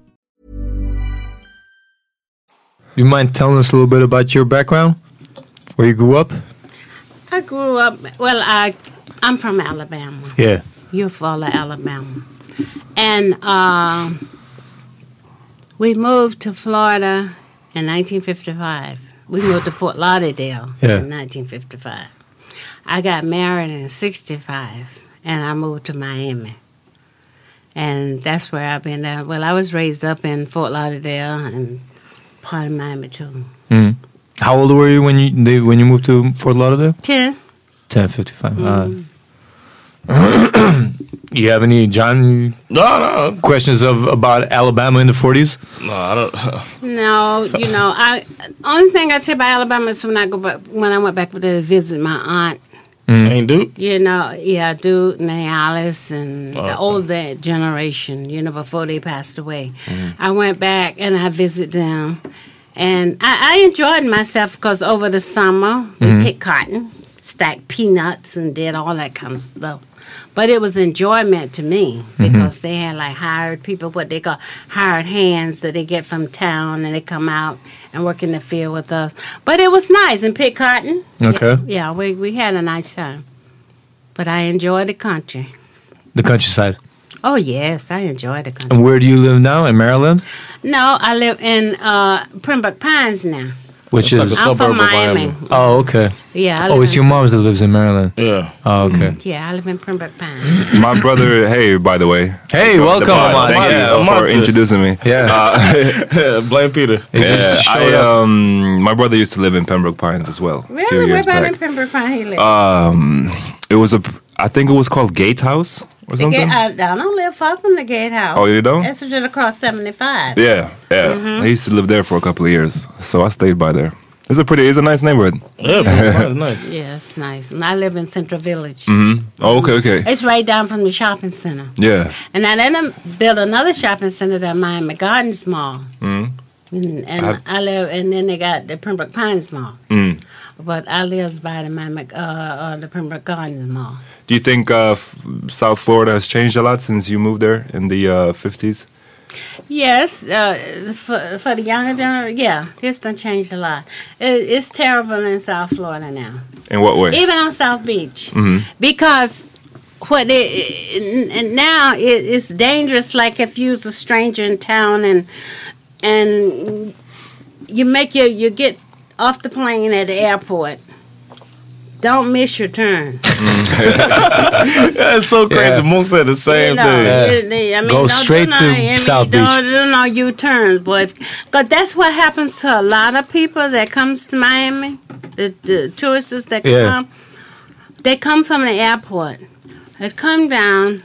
Speaker 3: You mind telling us a little bit about your background? Where you grew up?
Speaker 2: I grew up. Well, I I'm from Alabama.
Speaker 3: Yeah.
Speaker 2: You're from Alabama, and uh, we moved to Florida in 1955. We moved to Fort Lauderdale
Speaker 3: Yeah.
Speaker 2: in 1955. I got married in '65, and I moved to Miami. And that's where I've been. At. Well, I was raised up in Fort Lauderdale and part of Miami too.
Speaker 3: Mm. How old Uh-huh. were you when you they, when you moved to Fort Lauderdale?
Speaker 2: Ten.
Speaker 3: 10, 55. Mm. <clears throat> you have any John
Speaker 5: No, no,
Speaker 3: questions of about Alabama in the forties?
Speaker 5: no. I don't. <laughs>
Speaker 2: No, you know, I only thing I tell about Alabama is when I go back, when I went back to visit my aunt.
Speaker 3: Mm.
Speaker 5: Ain't Duke.
Speaker 2: You know, yeah, Duke, Nialis, and the older generation. You know, before they passed away, I went back and I visited them, and I, I enjoyed myself because over the summer we picked cotton, stacked peanuts, and did all that kind of stuff. But it was enjoyment to me because they had like hired people, what they call hired hands that they get from town, and they come out and work in the field with us. But it was nice and pick cotton.
Speaker 3: Okay.
Speaker 2: Yeah, we, we had a nice time. But I enjoy the country.
Speaker 3: The countryside.
Speaker 2: Oh, yes, I enjoy the country.
Speaker 3: And where do you live now? In Maryland,
Speaker 2: No, I live in uh, Pembroke Pines now.
Speaker 3: which
Speaker 5: It's
Speaker 3: is
Speaker 5: like a
Speaker 2: I'm
Speaker 5: suburb
Speaker 2: from
Speaker 5: of
Speaker 2: Miami.
Speaker 5: Miami.
Speaker 3: oh okay.
Speaker 2: Yeah, I live
Speaker 3: Oh, it's
Speaker 2: in,
Speaker 3: your mom's that lives in Maryland.
Speaker 5: Yeah.
Speaker 3: Oh,
Speaker 5: <laughs>
Speaker 3: okay.
Speaker 2: Yeah, I live in Pembroke Pines.
Speaker 6: My brother, hey, by the way.
Speaker 3: Hey, welcome, Ahmad.
Speaker 6: Thank
Speaker 5: Yeah,
Speaker 6: you for
Speaker 5: Ahmad's a-
Speaker 6: introducing me. Uh,
Speaker 3: Yeah. <laughs>
Speaker 1: <laughs>
Speaker 5: Blame Peter.
Speaker 6: <laughs>
Speaker 3: It
Speaker 6: Yeah,
Speaker 3: just
Speaker 6: I,
Speaker 3: showed up.
Speaker 6: um, my brother used to live in Pembroke Pines as well. a few
Speaker 2: Really? Where
Speaker 6: years back.
Speaker 2: about
Speaker 6: Uh, Um,
Speaker 2: in Pembroke Pines he lives?
Speaker 6: It was a, I think it was called Gatehouse or
Speaker 2: the
Speaker 6: something.
Speaker 2: gate, I, I don't live far from the gatehouse.
Speaker 6: Oh, you don't?
Speaker 2: That's just across 75.
Speaker 6: yeah, yeah.
Speaker 2: Mm-hmm.
Speaker 6: I used to live there for a couple of years, so I stayed by there. It's a pretty, it's a nice neighborhood. <laughs>
Speaker 1: Yeah, man, nice.
Speaker 2: Yeah, it's nice. And I live in Central Village.
Speaker 6: Oh, okay, okay.
Speaker 2: It's right down from the shopping center.
Speaker 6: Yeah.
Speaker 2: And I then um, built another shopping center that Miami Gardens Mall.
Speaker 6: Mm-hmm.
Speaker 2: And, and
Speaker 6: I've-
Speaker 2: I live, and then they got the Pembroke Pines Mall.
Speaker 6: Mm.
Speaker 2: But I live by the Miami, uh, uh, the Pembroke Gardens Mall.
Speaker 6: Do you think uh, f- South Florida has changed a lot since you moved there in the uh, 50s?
Speaker 2: Yes, uh, for, for the younger generation, yeah, it's done changed a lot. It, it's terrible in South Florida now.
Speaker 6: In what way? Mm-hmm.
Speaker 2: even on South Beach, because what it n- n- now it, it's dangerous. Like if you're a stranger in town and and you make your you get off the plane at the airport, don't miss your turn.
Speaker 6: uh,
Speaker 5: Yeah, it's so
Speaker 3: <laughs>
Speaker 5: crazy.
Speaker 3: Yeah.
Speaker 5: Mook said the same
Speaker 2: You know,
Speaker 5: thing.
Speaker 2: you- they- I mean,
Speaker 3: Go
Speaker 2: don't
Speaker 3: straight
Speaker 2: do no,
Speaker 3: to
Speaker 2: I mean,
Speaker 3: South
Speaker 2: Don't do no U-turns, but because that's what happens to a lot of people that comes to Miami, the, the tourists that
Speaker 3: Yeah.
Speaker 2: come. They come from the airport. They come down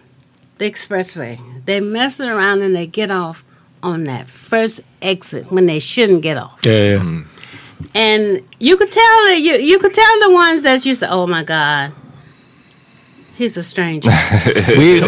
Speaker 2: the expressway. They mess around and they get off on that first exit when they shouldn't get off.
Speaker 3: Yeah, yeah.
Speaker 6: Mm-hmm.
Speaker 2: And you could tell the you, you could tell the ones that you say, "Oh my God, he's a stranger."
Speaker 3: we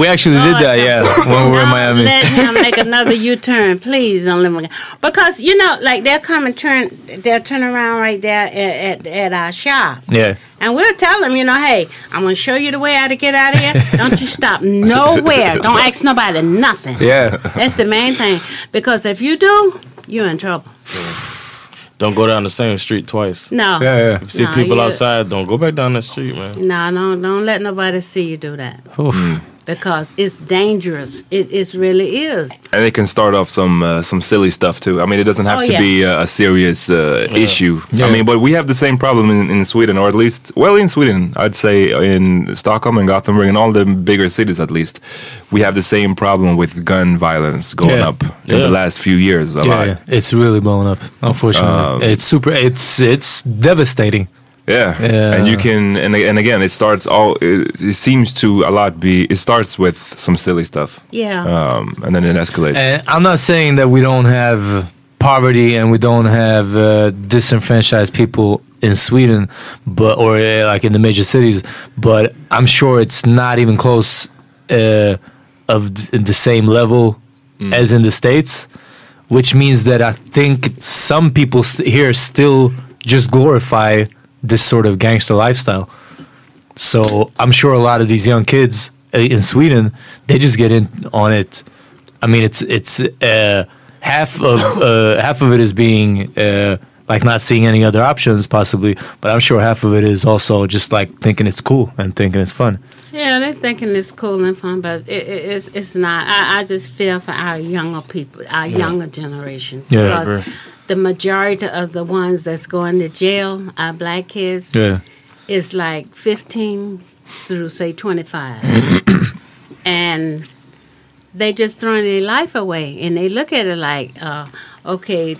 Speaker 3: we <clears throat> actually did
Speaker 2: Oh,
Speaker 3: that,
Speaker 2: no.
Speaker 3: yeah, when we were in
Speaker 2: Don't
Speaker 3: Miami.
Speaker 2: Let him make
Speaker 3: <laughs>
Speaker 2: another U turn, please. Don't let him. Because you know, like they'll come and turn, they'll turn around right there at at, at our shop,
Speaker 3: Yeah,
Speaker 2: and we'll tell them, you know, hey, I'm gonna show you the way how to get out of here. Don't you
Speaker 3: <laughs>
Speaker 2: stop nowhere. Don't ask nobody nothing.
Speaker 3: <laughs> yeah.
Speaker 2: That's the main thing. Because if you do, you're in trouble.
Speaker 1: Don't go down the same street twice.
Speaker 2: No.
Speaker 3: Yeah, yeah.
Speaker 1: If you see
Speaker 2: No,
Speaker 1: people
Speaker 2: you-
Speaker 1: outside, don't go back down that street, man.
Speaker 2: No, don't don't let nobody see you do that
Speaker 3: Oof.
Speaker 2: because it's dangerous. It it really is.
Speaker 6: and it can start off some uh, some silly stuff too. I mean, it doesn't have
Speaker 2: Oh,
Speaker 6: to
Speaker 2: yeah.
Speaker 6: be uh, a serious uh, issue.
Speaker 3: Yeah.
Speaker 6: I mean, but we have the same problem in, in Sweden, or at least, well, in Sweden, I'd say in Stockholm and Gothenburg and all the bigger cities, at least, we have the same problem with gun violence going
Speaker 3: Yeah.
Speaker 6: up in the
Speaker 1: Yeah.
Speaker 6: last few years. A
Speaker 3: Yeah,
Speaker 6: lot.
Speaker 3: yeah, it's really blown up. Unfortunately, it's super. It's it's devastating.
Speaker 6: Yeah.
Speaker 3: Yeah.
Speaker 6: and you can, and and again, it starts all. It, it seems to a lot be. It starts with some silly stuff,
Speaker 2: Yeah.
Speaker 6: um, and then it escalates.
Speaker 3: And Uh, I'm not saying that we don't have poverty and we don't have uh, disenfranchised people in Sweden, but or uh, like in the major cities. But I'm sure it's not even close uh, of d- the same level as in the states, which means that I think some people st- here still just glorify this sort of gangster lifestyle. So I'm sure a lot of these young kids uh, in Sweden, they just get in on it. I mean, it's it's uh, half
Speaker 1: <coughs>
Speaker 3: of uh, half of it is being uh, like not seeing any other options possibly, but I'm sure half of it is also just like thinking it's cool and thinking it's fun.
Speaker 2: Yeah, they're thinking it's cool and fun, but it, it, it's it's not. I, I just feel for our younger people, our younger generation.
Speaker 3: Yeah, I
Speaker 2: because the majority of the ones that's going to jail, our black kids, is like 15 through
Speaker 3: <coughs>
Speaker 2: say 25. and they just throwing their life away and they look at it like, uh, okay,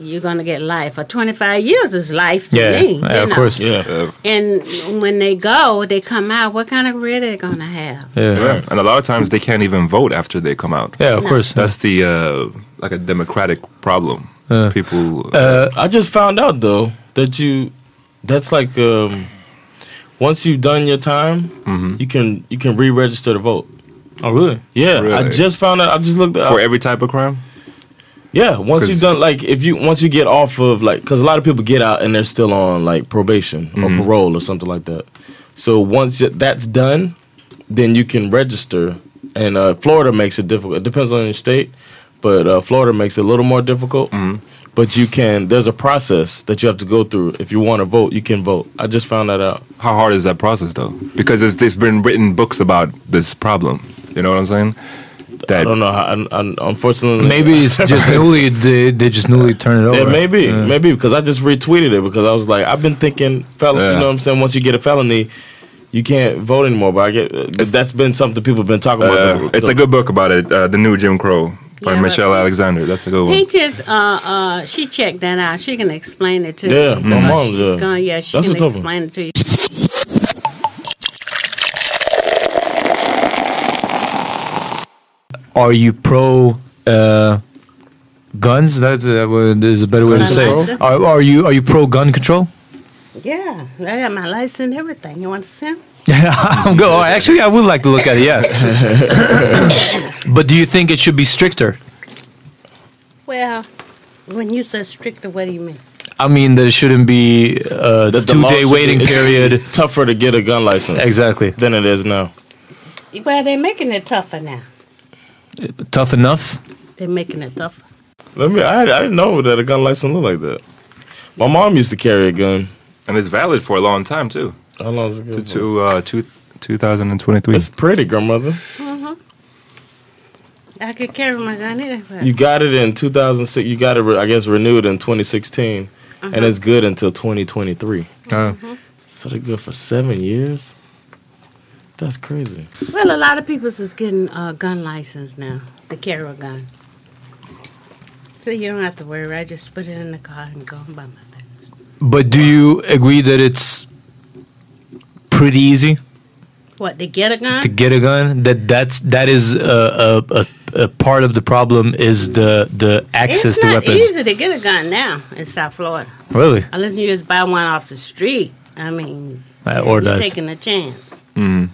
Speaker 2: you're gonna get life. Or 25 years is life to
Speaker 3: Yeah,
Speaker 2: me.
Speaker 3: yeah,
Speaker 2: you
Speaker 3: of
Speaker 2: know.
Speaker 3: course.
Speaker 1: Yeah. Yeah.
Speaker 2: And when they go, they come out. What kind of career they gonna have?
Speaker 3: Yeah, yeah,
Speaker 6: And a lot of times they can't even vote after they come out.
Speaker 3: of course.
Speaker 6: That's the uh, like a democratic problem.
Speaker 3: Uh,
Speaker 6: People. uh,
Speaker 1: I just found out though that you that's like um once you've done your time,
Speaker 6: Mm-hmm.
Speaker 1: you can you can re-register to vote.
Speaker 3: oh, really?
Speaker 1: Yeah, I
Speaker 6: Really?
Speaker 1: just found out. I just
Speaker 3: uh,
Speaker 1: looked up.
Speaker 6: for every type of crime?
Speaker 1: yeah, once
Speaker 6: 'cause-
Speaker 1: you've done like if you once you get off of like because a lot of people get out and they're still on like probation
Speaker 6: Mm-hmm.
Speaker 1: or parole or something like that. So once y- that's done, then you can register. And uh, Florida makes it difficult. It depends on your state, but uh, Florida makes it a little more difficult.
Speaker 6: Mm-hmm.
Speaker 1: But you can. There's a process that you have to go through if you want to vote. You can vote. I just found that out.
Speaker 6: How hard is that process though? Because it's, there's been written books about this problem. You know what I'm saying? That
Speaker 1: I don't know. How, I, I, unfortunately,
Speaker 3: Maybe
Speaker 1: <laughs>
Speaker 6: <laughs>
Speaker 3: it's just newly they, they just newly turned it over.
Speaker 1: Yeah, maybe, maybe because I just retweeted it because I was like, I've been thinking, felon.
Speaker 6: Yeah.
Speaker 1: You know what I'm saying? Once you get a felony, you can't vote anymore. But I get that's been something people have been talking
Speaker 6: uh,
Speaker 1: about.
Speaker 6: it's a good book about it. Uh, the new Jim Crow by
Speaker 2: Yeah, but-
Speaker 6: Michelle Alexander. That's a good one.
Speaker 2: Peaches, uh, uh, she checked that out. She can explain it to
Speaker 1: Yeah,
Speaker 2: you.
Speaker 1: my
Speaker 2: because
Speaker 1: mom's,
Speaker 2: she's
Speaker 1: yeah.
Speaker 2: Gonna, yeah, she
Speaker 1: That's a
Speaker 2: can
Speaker 1: tough one.
Speaker 2: explain it to you.
Speaker 3: Are you pro uh, guns? That's uh, what- there's a better way to
Speaker 2: Gun
Speaker 3: say.
Speaker 2: control?
Speaker 3: it. Are, are you are you pro gun control?
Speaker 2: Yeah, I got my license and everything. You want to see?
Speaker 3: <laughs> I'm go. oh, actually, I would like to look at it. Yeah. but do you think it should be stricter?
Speaker 2: Well, when you say stricter, what do you mean?
Speaker 3: I mean, there shouldn't be uh, a
Speaker 1: The- the law
Speaker 3: two-day
Speaker 1: should be-
Speaker 3: waiting
Speaker 1: <laughs> it should be
Speaker 3: period.
Speaker 1: tougher to get a gun license
Speaker 3: Exactly.
Speaker 1: than it is now.
Speaker 2: Well, they're making it tougher now.
Speaker 3: Tough enough.
Speaker 2: They're making it tougher.
Speaker 1: Let me. I, I didn't know that a gun license looked like that. My mom used to carry a gun.
Speaker 6: And it's valid for a long time too.
Speaker 1: How long is it?
Speaker 6: To,
Speaker 1: good for?
Speaker 6: to uh, two, 2023.
Speaker 1: It's pretty, grandmother.
Speaker 2: Mm-hmm. I could carry my gun anywhere.
Speaker 1: You got it in 2006. You got it, re- I guess, renewed in 2016,
Speaker 2: Uh-huh.
Speaker 1: and it's good until 2023. So they're good for seven years. That's crazy.
Speaker 2: well, a lot of people is getting uh, gun license now to carry a gun. So you don't have to worry. I just put it in the car and go and buy my business.
Speaker 3: But do you agree that it's pretty easy
Speaker 2: What, to get a gun?
Speaker 3: to get a gun? That that's that is a, a, a, a part of the problem is the the access
Speaker 2: it's
Speaker 3: to
Speaker 2: not
Speaker 3: weapons.
Speaker 2: easy to get a gun now in South Florida.
Speaker 3: Really,
Speaker 2: Unless you just buy one off the street. I mean,
Speaker 3: Uh, or
Speaker 2: you're
Speaker 3: does
Speaker 2: taking a chance.
Speaker 6: Mm.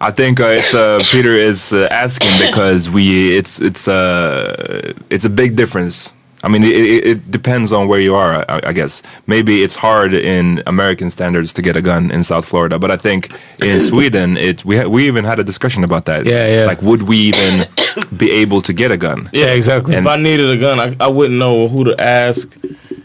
Speaker 6: I think uh, it's uh, Peter is uh, asking because we it's it's uh, it's a big difference. I mean, it, it, it depends on where you are, I, I guess. Maybe it's hard in American standards to get a gun in South Florida, but I think
Speaker 1: <coughs>
Speaker 6: in Sweden, it we ha- we even had a discussion about that.
Speaker 3: Yeah, yeah.
Speaker 6: Like, would we even be able to get a gun?
Speaker 3: yeah, exactly.
Speaker 1: if I needed a gun, I, I wouldn't know who to ask.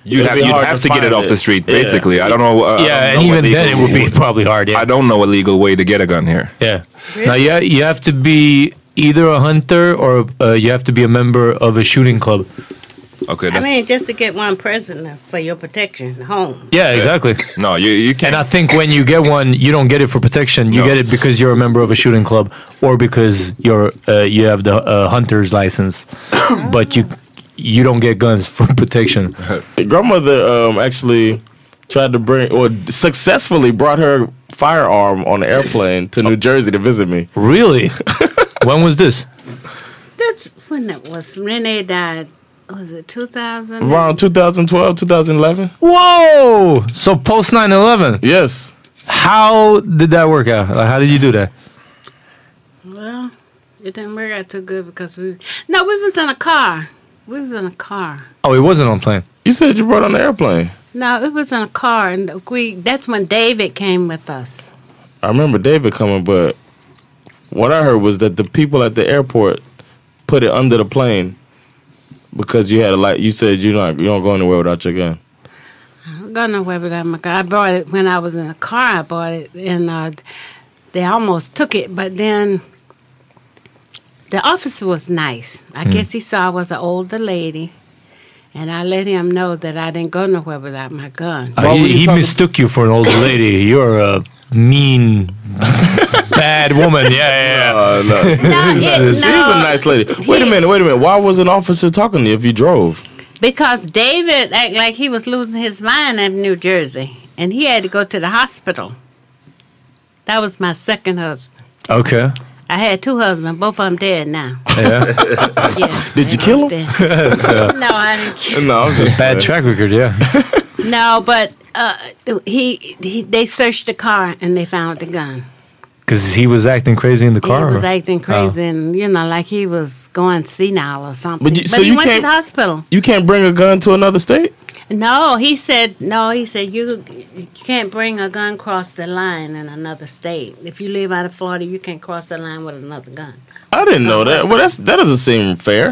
Speaker 6: You'd
Speaker 1: It'd
Speaker 6: have,
Speaker 1: be
Speaker 6: you'd
Speaker 1: hard
Speaker 6: have to, get
Speaker 1: find
Speaker 6: it off the street,
Speaker 1: Yeah.
Speaker 6: basically. I don't know. Uh, I
Speaker 3: yeah,
Speaker 6: don't
Speaker 3: and
Speaker 6: know what
Speaker 3: even then it
Speaker 6: legal-
Speaker 3: would be probably hard. Yeah,
Speaker 6: I don't know a legal way to get a gun here.
Speaker 3: yeah. Now, yeah, you have to be either a hunter or uh, you have to be a member of a shooting club.
Speaker 6: Okay,
Speaker 2: I
Speaker 6: that's
Speaker 2: mean, just to get one prisoner for your protection home.
Speaker 3: Yeah, exactly.
Speaker 6: no. You you
Speaker 3: And
Speaker 6: can't.
Speaker 3: I think when you get one, you don't get it for protection. You
Speaker 6: No.
Speaker 3: get it because you're a member of a shooting club or because you're uh, you have the uh, hunter's license, <coughs> but you you don't get guns for protection.
Speaker 6: <laughs>
Speaker 1: Grandmother um, actually tried to bring, or successfully brought her firearm on an airplane to New Jersey to visit me. <laughs>
Speaker 3: Really? when was this?
Speaker 2: That's when that was. Renee died. Was it 2000?
Speaker 1: Around 2012, 2011?
Speaker 3: Whoa! So post 9/11,
Speaker 1: Yes.
Speaker 3: how did that work out? Like, how did you do that?
Speaker 2: Well, it didn't work out too good because we. No, we was in a car. We was in a car.
Speaker 3: Oh, it wasn't on plane.
Speaker 1: You said you brought on the airplane.
Speaker 2: No, it was in a car, and we. That's when David came with us.
Speaker 1: I remember David coming, but what I heard was that the people at the airport put it under the plane because you had a light. You said you not you don't go anywhere without your gun.
Speaker 2: I don't go nowhere without my car. I bought it when I was in a car. I bought it, and uh, they almost took it, but then the officer was nice. I
Speaker 3: Hmm.
Speaker 2: guess he saw I was an older lady, and I let him know that I didn't go nowhere without my gun.
Speaker 3: Uh, he he mistook you for an older lady. You're a mean, <laughs> bad woman. Yeah, yeah. yeah.
Speaker 1: Uh, <laughs>
Speaker 3: <laughs>
Speaker 1: no.
Speaker 2: No, it-
Speaker 1: She's a
Speaker 2: no.
Speaker 1: nice lady. Wait a minute, wait a minute. Why was an officer talking to you if you drove?
Speaker 2: because David act like he was losing his mind in New Jersey, and he had to go to the hospital. That was my second husband.
Speaker 3: Okay.
Speaker 2: I had two husbands, both of them dead now.
Speaker 3: Yeah.
Speaker 2: <laughs> Yeah,
Speaker 5: Did you kill
Speaker 2: <laughs>
Speaker 5: him?
Speaker 3: It's a-
Speaker 2: no, I didn't. kill-
Speaker 5: no, I'm just
Speaker 3: Bad track record, yeah.
Speaker 2: No, but uh, he, he they searched the car and they found the gun.
Speaker 3: Because he was acting crazy in the car.
Speaker 2: He was
Speaker 3: or-
Speaker 2: acting
Speaker 3: Oh.
Speaker 2: crazy, and you know, like he was going senile or something.
Speaker 5: But
Speaker 2: But,
Speaker 5: you- so
Speaker 2: he
Speaker 5: you
Speaker 2: went to
Speaker 5: can't-
Speaker 2: the hospital.
Speaker 5: You can't bring a gun to another state.
Speaker 2: No, he said no. He said you you can't bring a gun across the line in another state. If you live out of Florida, you can't cross the line with another gun.
Speaker 5: I didn't know that. Well, that's that doesn't seem fair.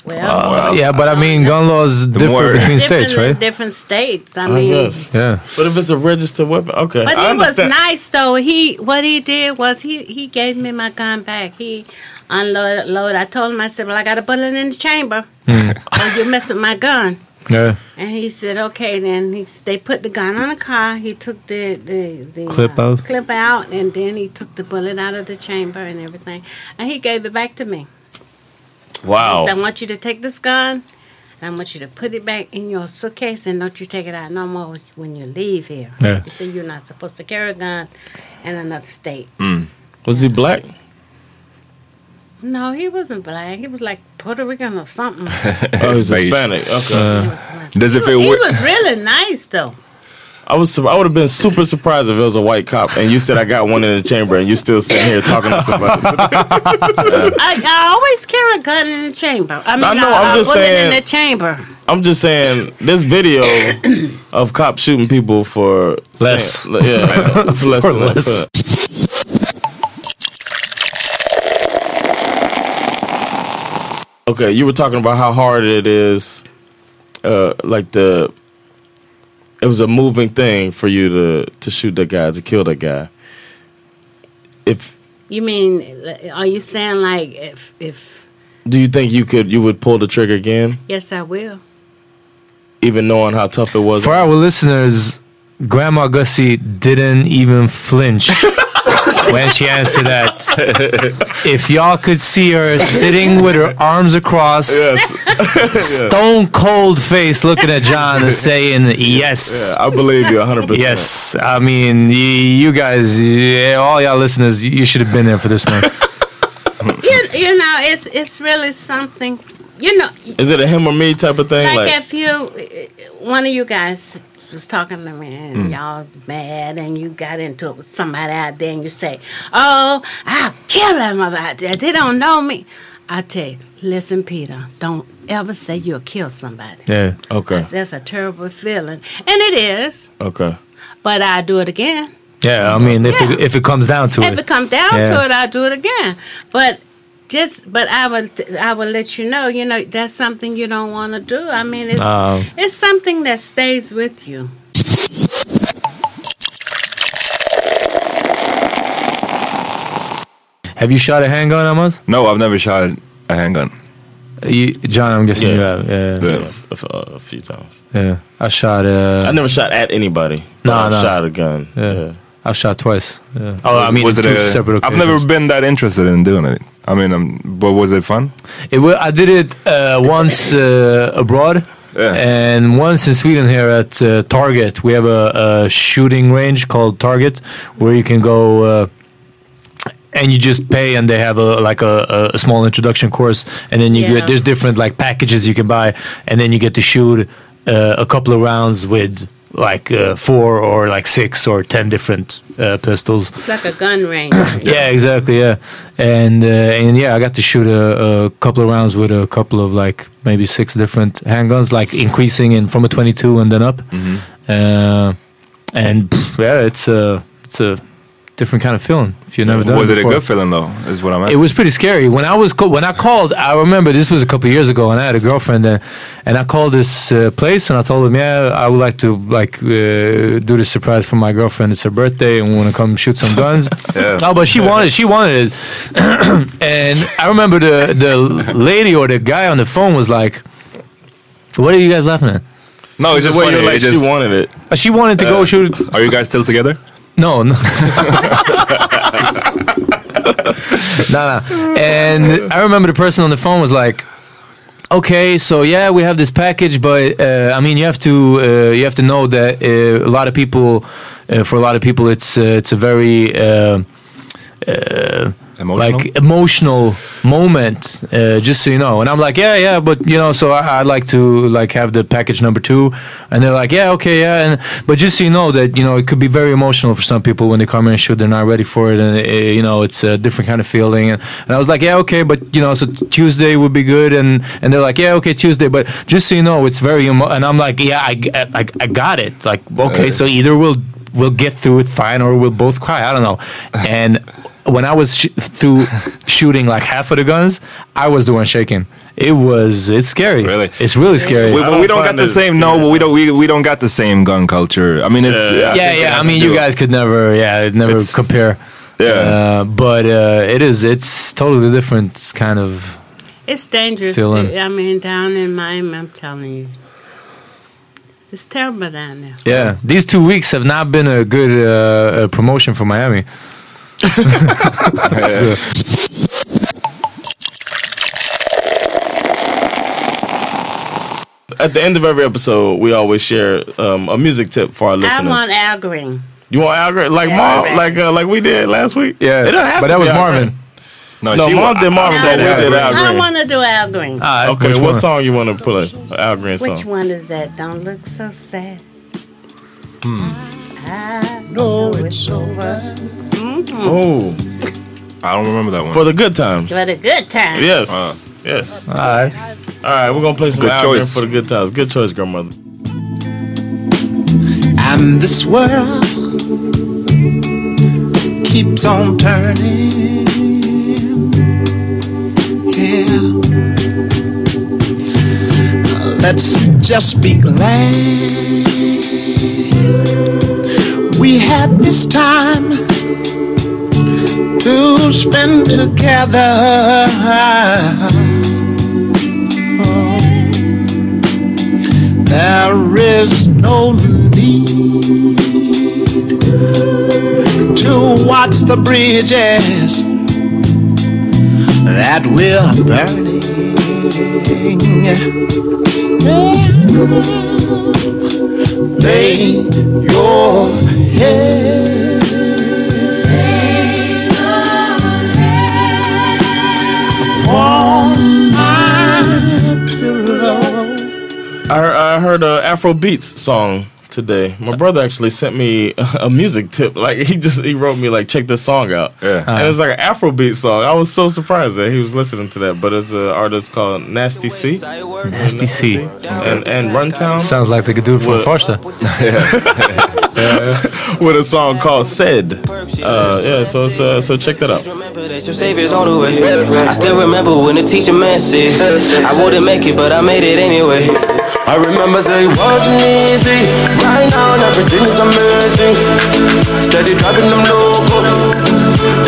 Speaker 5: Uh,
Speaker 2: Well, uh,
Speaker 3: yeah, but I mean, gun laws differ
Speaker 6: more-
Speaker 3: between
Speaker 2: different
Speaker 3: states,
Speaker 2: in
Speaker 3: right?
Speaker 2: Different states. I
Speaker 5: I
Speaker 2: mean.
Speaker 5: guess.
Speaker 3: Yeah.
Speaker 5: But if it's a registered weapon, okay.
Speaker 2: But
Speaker 5: I
Speaker 2: he was
Speaker 5: understand.
Speaker 2: nice though. He what he did was he he gave me my gun back. He unloaded. Loaded. I told him I said, "Well, I got a bullet in the chamber. oh, you mess with my gun."
Speaker 3: Mm. Yeah.
Speaker 2: And he said, "Okay." Then he s- they put the gun on the car. He took the the, the
Speaker 3: Clip
Speaker 2: uh,
Speaker 3: out?
Speaker 2: clip out, and then he took the bullet out of the chamber and everything. And he gave it back to me. He said, "I
Speaker 5: Wow.
Speaker 2: want you to take this gun." and I want you to put it back in your suitcase and don't you take it out no more when you leave here.
Speaker 3: Yeah.
Speaker 2: He said you're not supposed to carry a gun in another state.
Speaker 5: Hmm. Was he
Speaker 2: <laughs>
Speaker 5: black? Oh,
Speaker 2: No, he wasn't black. He was like Puerto Rican or something.
Speaker 5: Oh, he's
Speaker 6: beige.
Speaker 5: Hispanic. Okay.
Speaker 2: he was,
Speaker 6: Does it
Speaker 2: he
Speaker 6: feel
Speaker 2: was, he
Speaker 6: weird?
Speaker 2: was really nice though.
Speaker 5: I was. sur- I would have been super surprised if it was a white cop, and you said I got one in the chamber, and you still sitting here talking to somebody.
Speaker 3: <laughs>
Speaker 5: <laughs>
Speaker 2: I, I always carry a gun in the chamber. I mean,
Speaker 5: I
Speaker 2: I
Speaker 5: know,
Speaker 2: I,
Speaker 5: I'm just
Speaker 2: wasn't
Speaker 5: saying-
Speaker 2: in the chamber.
Speaker 5: I'm just saying this video of cops shooting people for
Speaker 3: Less.
Speaker 5: saying- yeah, for <laughs> less.
Speaker 3: <laughs> For
Speaker 5: than-
Speaker 3: less.
Speaker 5: Okay, you were talking about how hard it is, uh, like the. It was a moving thing for you to to shoot that guy to kill that guy. If
Speaker 2: You mean? Are you saying like if if
Speaker 5: do you think you could you would pull the trigger again,
Speaker 2: yes, I will.
Speaker 5: even knowing how tough it was?
Speaker 3: For our listeners, Grandma Gussie didn't even flinch
Speaker 2: <laughs>
Speaker 3: when she answered that. If y'all could see her sitting with her arms across,
Speaker 5: Yes.
Speaker 3: stone cold face looking at John and saying, Yes.
Speaker 5: Yeah, I believe you 100%.
Speaker 3: Yes, I mean y- you guys, yeah, all y'all listeners, you should have been there for this man.
Speaker 2: You, you know, it's it's really something. You know,
Speaker 5: Is it a him or me type of thing?
Speaker 2: like,
Speaker 5: Like,
Speaker 2: if you one of you guys was talking to me and
Speaker 5: Mm.
Speaker 2: y'all mad and you got into it with somebody out there and you say oh i'll kill that mother out there they don't know me i tell you listen peter don't ever say you'll kill somebody
Speaker 3: Yeah,
Speaker 5: okay,
Speaker 2: that's a terrible feeling and it is
Speaker 5: okay.
Speaker 2: but i do it again
Speaker 3: yeah. I mean, if it, if it comes down to
Speaker 2: if it
Speaker 3: it,
Speaker 2: comes down
Speaker 3: Yeah.
Speaker 2: to it, I'll do it again. But just, but I will, I will let you know. You know, that's something you don't want to do. I mean, it's
Speaker 3: No.
Speaker 2: it's something that stays with you.
Speaker 3: have you shot a handgun, Ahmad?
Speaker 6: No, I've never shot a handgun.
Speaker 3: You, John, I'm guessing you
Speaker 5: Yeah.
Speaker 3: have. Yeah,
Speaker 5: Yeah, a, f- a few times.
Speaker 3: yeah. I shot.
Speaker 5: I
Speaker 3: Uh,
Speaker 5: never shot at anybody.
Speaker 3: No,
Speaker 5: No, I
Speaker 3: no.
Speaker 5: shot a gun. Yeah.
Speaker 3: I've shot twice. Yeah. Oh, I mean,
Speaker 6: was
Speaker 3: two
Speaker 6: it a-
Speaker 3: separate
Speaker 6: I've
Speaker 3: occasions.
Speaker 6: never been that interested in doing it. I mean, um, but was it fun?
Speaker 3: It wa- I did it uh, once uh, abroad.
Speaker 6: Yeah.
Speaker 3: And once in Sweden, here at uh, Target, we have a, a shooting range called Target, where you can go uh, and you just pay, and they have a like a, a- a small introduction course, and then you
Speaker 2: Yeah.
Speaker 3: get there's different like packages you can buy, and then you get to shoot uh, a couple of rounds with like uh, four or like six or ten different uh, pistols.
Speaker 2: It's like a gun range.
Speaker 3: <laughs> Yeah, exactly. Yeah, and uh, and yeah, I got to shoot a, a couple of rounds with a couple of like maybe six different handguns, like increasing in from a 22 and then up.
Speaker 6: Mm-hmm.
Speaker 3: Uh, and pff, yeah, it's a it's a different kind of feeling if you've never done.
Speaker 6: was it a
Speaker 3: before.
Speaker 6: good feeling though? Is what I'm
Speaker 3: It
Speaker 6: asking.
Speaker 3: was pretty scary. When I was co- when I called, I remember this was a couple of years ago, and I had a girlfriend, uh, and I called this uh, place and I told them, yeah, I would like to like uh, do this surprise for my girlfriend. It's her birthday, and we want to come shoot some
Speaker 6: <laughs>
Speaker 3: guns. Oh, but she wanted she wanted it, <clears throat> and I remember the the lady or the guy on the phone was like, "What are you guys laughing at?"
Speaker 6: no, it's just
Speaker 5: Well,
Speaker 6: funny.
Speaker 5: you're
Speaker 6: it
Speaker 5: like,
Speaker 6: just-
Speaker 5: she wanted it.
Speaker 3: Uh, She wanted to go shoot.
Speaker 6: are you guys still together?
Speaker 3: No,
Speaker 5: <laughs>
Speaker 3: no.
Speaker 7: <laughs>
Speaker 3: <laughs> no, no. And I remember the person on the phone was like, okay, so yeah, we have this package, but uh, I mean, you have to uh, you have to know that uh, a lot of people, uh, for a lot of people, it's uh, it's a very uh, uh, like emotional moment. Uh, just so you know, and I'm like, yeah, yeah, but you know, so I, I like to like have the package number two, and they're like, yeah, okay, yeah, and but just so you know that you know it could be very emotional for some people when they come in and shoot, they're not ready for it, and uh, you know it's a different kind of feeling. And, and I was like, yeah, okay, but you know, so Tuesday would be good, and and they're like, yeah, okay, Tuesday, but just so you know, it's very emo-, and I'm like, yeah, I, g- I, I got it. Like, okay, so either we'll we'll get through it fine, or we'll both cry. I don't know. And when I was sh- through shooting like half of the guns, I was the one shaking. It was it's scary.
Speaker 6: Really?
Speaker 3: it's really scary.
Speaker 6: We, we don't
Speaker 8: find
Speaker 6: got the
Speaker 8: it
Speaker 6: same. No, we don't. We, we don't got the same gun culture. I mean, it's
Speaker 8: Yeah.
Speaker 6: I
Speaker 3: yeah,
Speaker 6: think it
Speaker 3: yeah. I
Speaker 6: has
Speaker 3: mean,
Speaker 6: to
Speaker 3: you
Speaker 6: do-
Speaker 3: guys could never, yeah, it'd never
Speaker 6: It's-
Speaker 3: compare.
Speaker 6: Yeah,
Speaker 3: Uh, but uh, it is, it's totally different kind of.
Speaker 2: It's dangerous.
Speaker 3: Feeling.
Speaker 2: I mean, down in Miami, I'm telling you. It's terrible down there.
Speaker 3: Yeah, these two weeks have not been a good uh, uh, promotion
Speaker 6: <laughs>
Speaker 3: for Miami. <laughs> So-
Speaker 1: At the end of every episode, we always share um, a music tip for our listeners.
Speaker 2: I want Al Green.
Speaker 1: you want Al Green? Like
Speaker 2: Yeah,
Speaker 1: Mar-
Speaker 2: Al Green.
Speaker 1: like uh, like we did last week.
Speaker 3: yeah,
Speaker 1: it don't have
Speaker 3: but
Speaker 1: to
Speaker 3: that
Speaker 1: be
Speaker 3: was
Speaker 1: Al Green.
Speaker 3: Marvin.
Speaker 1: No,
Speaker 6: she-
Speaker 1: Marvin did
Speaker 6: I-
Speaker 1: Marvin, but
Speaker 2: said
Speaker 1: we
Speaker 2: Al
Speaker 1: did
Speaker 6: Green.
Speaker 1: Al
Speaker 2: I
Speaker 1: Green.
Speaker 2: want to do Al Green.
Speaker 3: Uh,
Speaker 1: Okay,
Speaker 3: which
Speaker 1: what
Speaker 3: one?
Speaker 1: song you want to play? Al Green song.
Speaker 2: Which one is that? Don't look so sad. I know it's over. Mm-hmm.
Speaker 1: Oh,
Speaker 6: I don't remember that one.
Speaker 1: for the good times.
Speaker 2: But a good time.
Speaker 1: Yes, yes. All
Speaker 3: All right.
Speaker 1: right, we're gonna play some
Speaker 6: Good
Speaker 1: Al Green
Speaker 6: choice.
Speaker 1: for the good times. Good choice, grandmother.
Speaker 9: And this world keeps on turning. Yeah. Let's just be glad we had this time to spend together. Oh, There is no need to watch the bridges that we're burning. Lay your head upon my pillow.
Speaker 1: I, heard- I heard a Afro Beats song today. My brother actually sent me a music tip. Like he just he wrote me like check this song out.
Speaker 6: Yeah.
Speaker 1: and it's like an Afro Beat song. I was so surprised that he was listening to that. But it's an artist called Nasty C
Speaker 3: Nasty C.
Speaker 1: and and Runtown
Speaker 3: Sounds like they could do it for
Speaker 1: Well- <laughs>
Speaker 3: Forster.
Speaker 1: with a song called Said. Uh, yeah, so it's, uh, so check that out.
Speaker 9: Remember that your savior's all the way. I still remember when the teacher man said, I wouldn't make it, but I made it anyway. I remember say, wasn't easy. Right now, and everything is amazing. Steady dropping them local.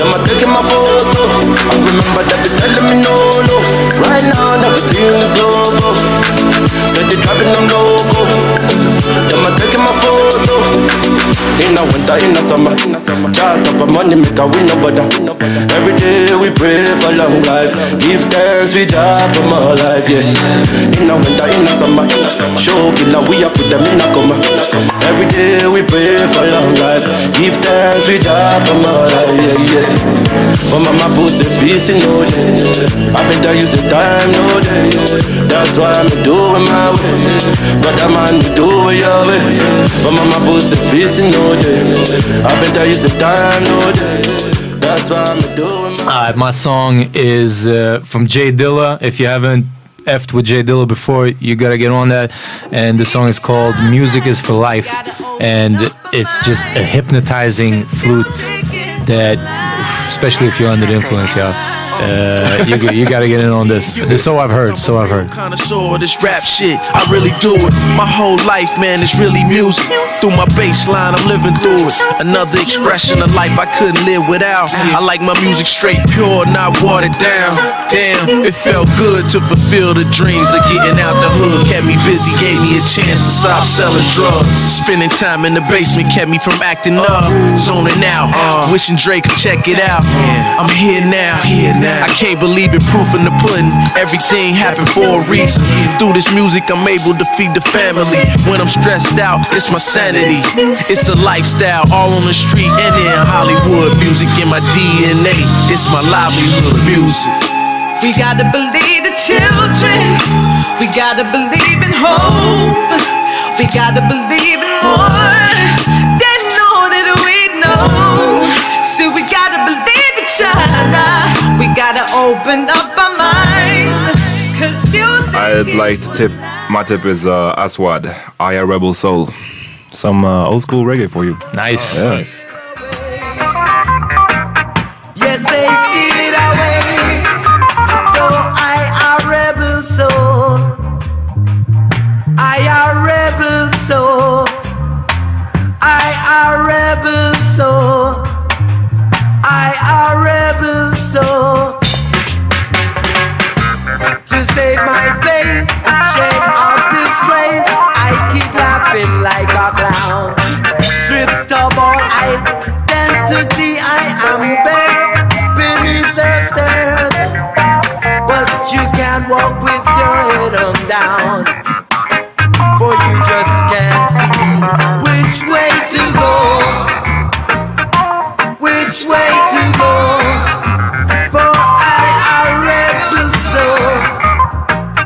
Speaker 9: Then I taking my photo. I remember that they telling me no, no. Right now, and everything is global. Steady dropping them local. Then I taking my photo. In a winter, in a summer Chart up a money, make a win no bother Every day we pray for long life Give thanks, we die for more life, yeah In a winter, in a summer Show killer, we are put them in a coma Every day we pray for long life Give thanks, we die for more life, yeah, yeah For mama puts the peace in no day I better use the time, no day That's why I'm doing my way But I'm on the do it your way But mama puts the peace in no day I better use the time, no day That's why I'm doing my
Speaker 3: All right, my song is uh, from Jay Dilla. If you haven't effed with Jay Dilla before, you gotta get on that. And the song is called "Music Is for Life," and it's just a hypnotizing flute that, especially if you're under the influence, yeah, uh, you you gotta get in on this. So I've heard. So I've heard.
Speaker 9: Connoisseur of this rap shit, I really do it. My whole life, man, it's really music. Through my bass line, I'm living through it. Another expression of life I couldn't live without. I like my music straight, pure, not watered down. Damn, it felt good to fulfill the dreams of getting out the hood. Kept me busy, gave me a
Speaker 10: a chance to stop selling drugs. Spending time in the basement kept me from acting up. Zoning out,
Speaker 9: uh,
Speaker 10: wishing Drake could check it out. I'm here now. I can't believe it, proof in the pudding. Everything happened for a reason. Through this music, I'm able to feed the family. When I'm stressed out, it's my sanity. It's a lifestyle, all on the street and in Hollywood. Music in my DNA, it's my livelihood. Music.
Speaker 11: We gotta believe the children. We gotta believe in hope. We gotta believe in more than know that we know. So we gotta believe each other. We gotta open up our minds. Cause music
Speaker 6: I'd like to tip. My tip is uh, Aswad, I a Rebel Soul. Some uh, old school reggae for you.
Speaker 3: Nice.
Speaker 6: Yes.
Speaker 7: Yes, they steal away. So I a rebel soul. I a rebel soul. I a rebel soul. I a rebel soul. To save my face, shame of disgrace, I keep laughing like a clown. Stripped of all identity, I am bare beneath the stairs. But you can walk with your head on down, for you just can't see which way to go. Which way to go? For I a rebel soul.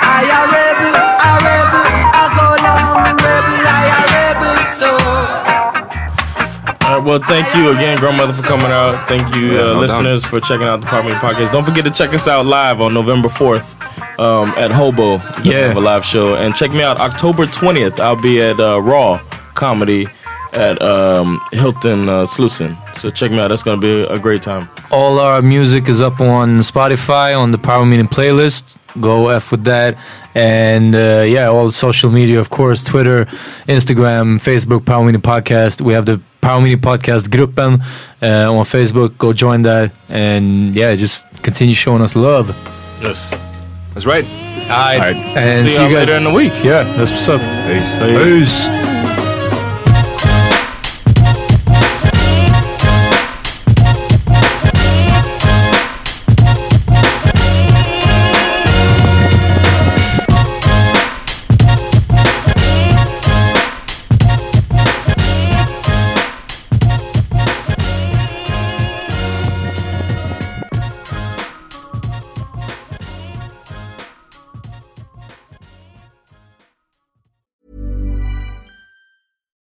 Speaker 7: I a rebel, a rebel, I go long rebel. I a rebel soul.
Speaker 1: All right, well, thank you again, grandmother, for coming out. Thank you,
Speaker 5: Yeah,
Speaker 1: uh,
Speaker 5: no
Speaker 1: listeners, for checking out the Park Me Podcast. Don't forget to check us out live on November 4th um, at Hobo. Yeah. Have a live show. And check me out October 20th. I'll be at uh, Raw Comedy at um, Hilton uh, Sluicing. So check me out. That's going to be a great time.
Speaker 3: All our music is up on Spotify on the Power Meeting playlist. Go F with that. And uh, yeah, all the social media, of course Twitter, Instagram, Facebook, Power Meeting Podcast. We have the Power Meeting Podcast Gruppen uh, on Facebook. Go join that. And yeah, just continue showing us love.
Speaker 1: Yes.
Speaker 6: That's right.
Speaker 3: All right. And
Speaker 6: See
Speaker 3: see,
Speaker 6: y'all
Speaker 3: you guys
Speaker 6: later in the week.
Speaker 3: Yeah, that's what's up.
Speaker 6: Peace.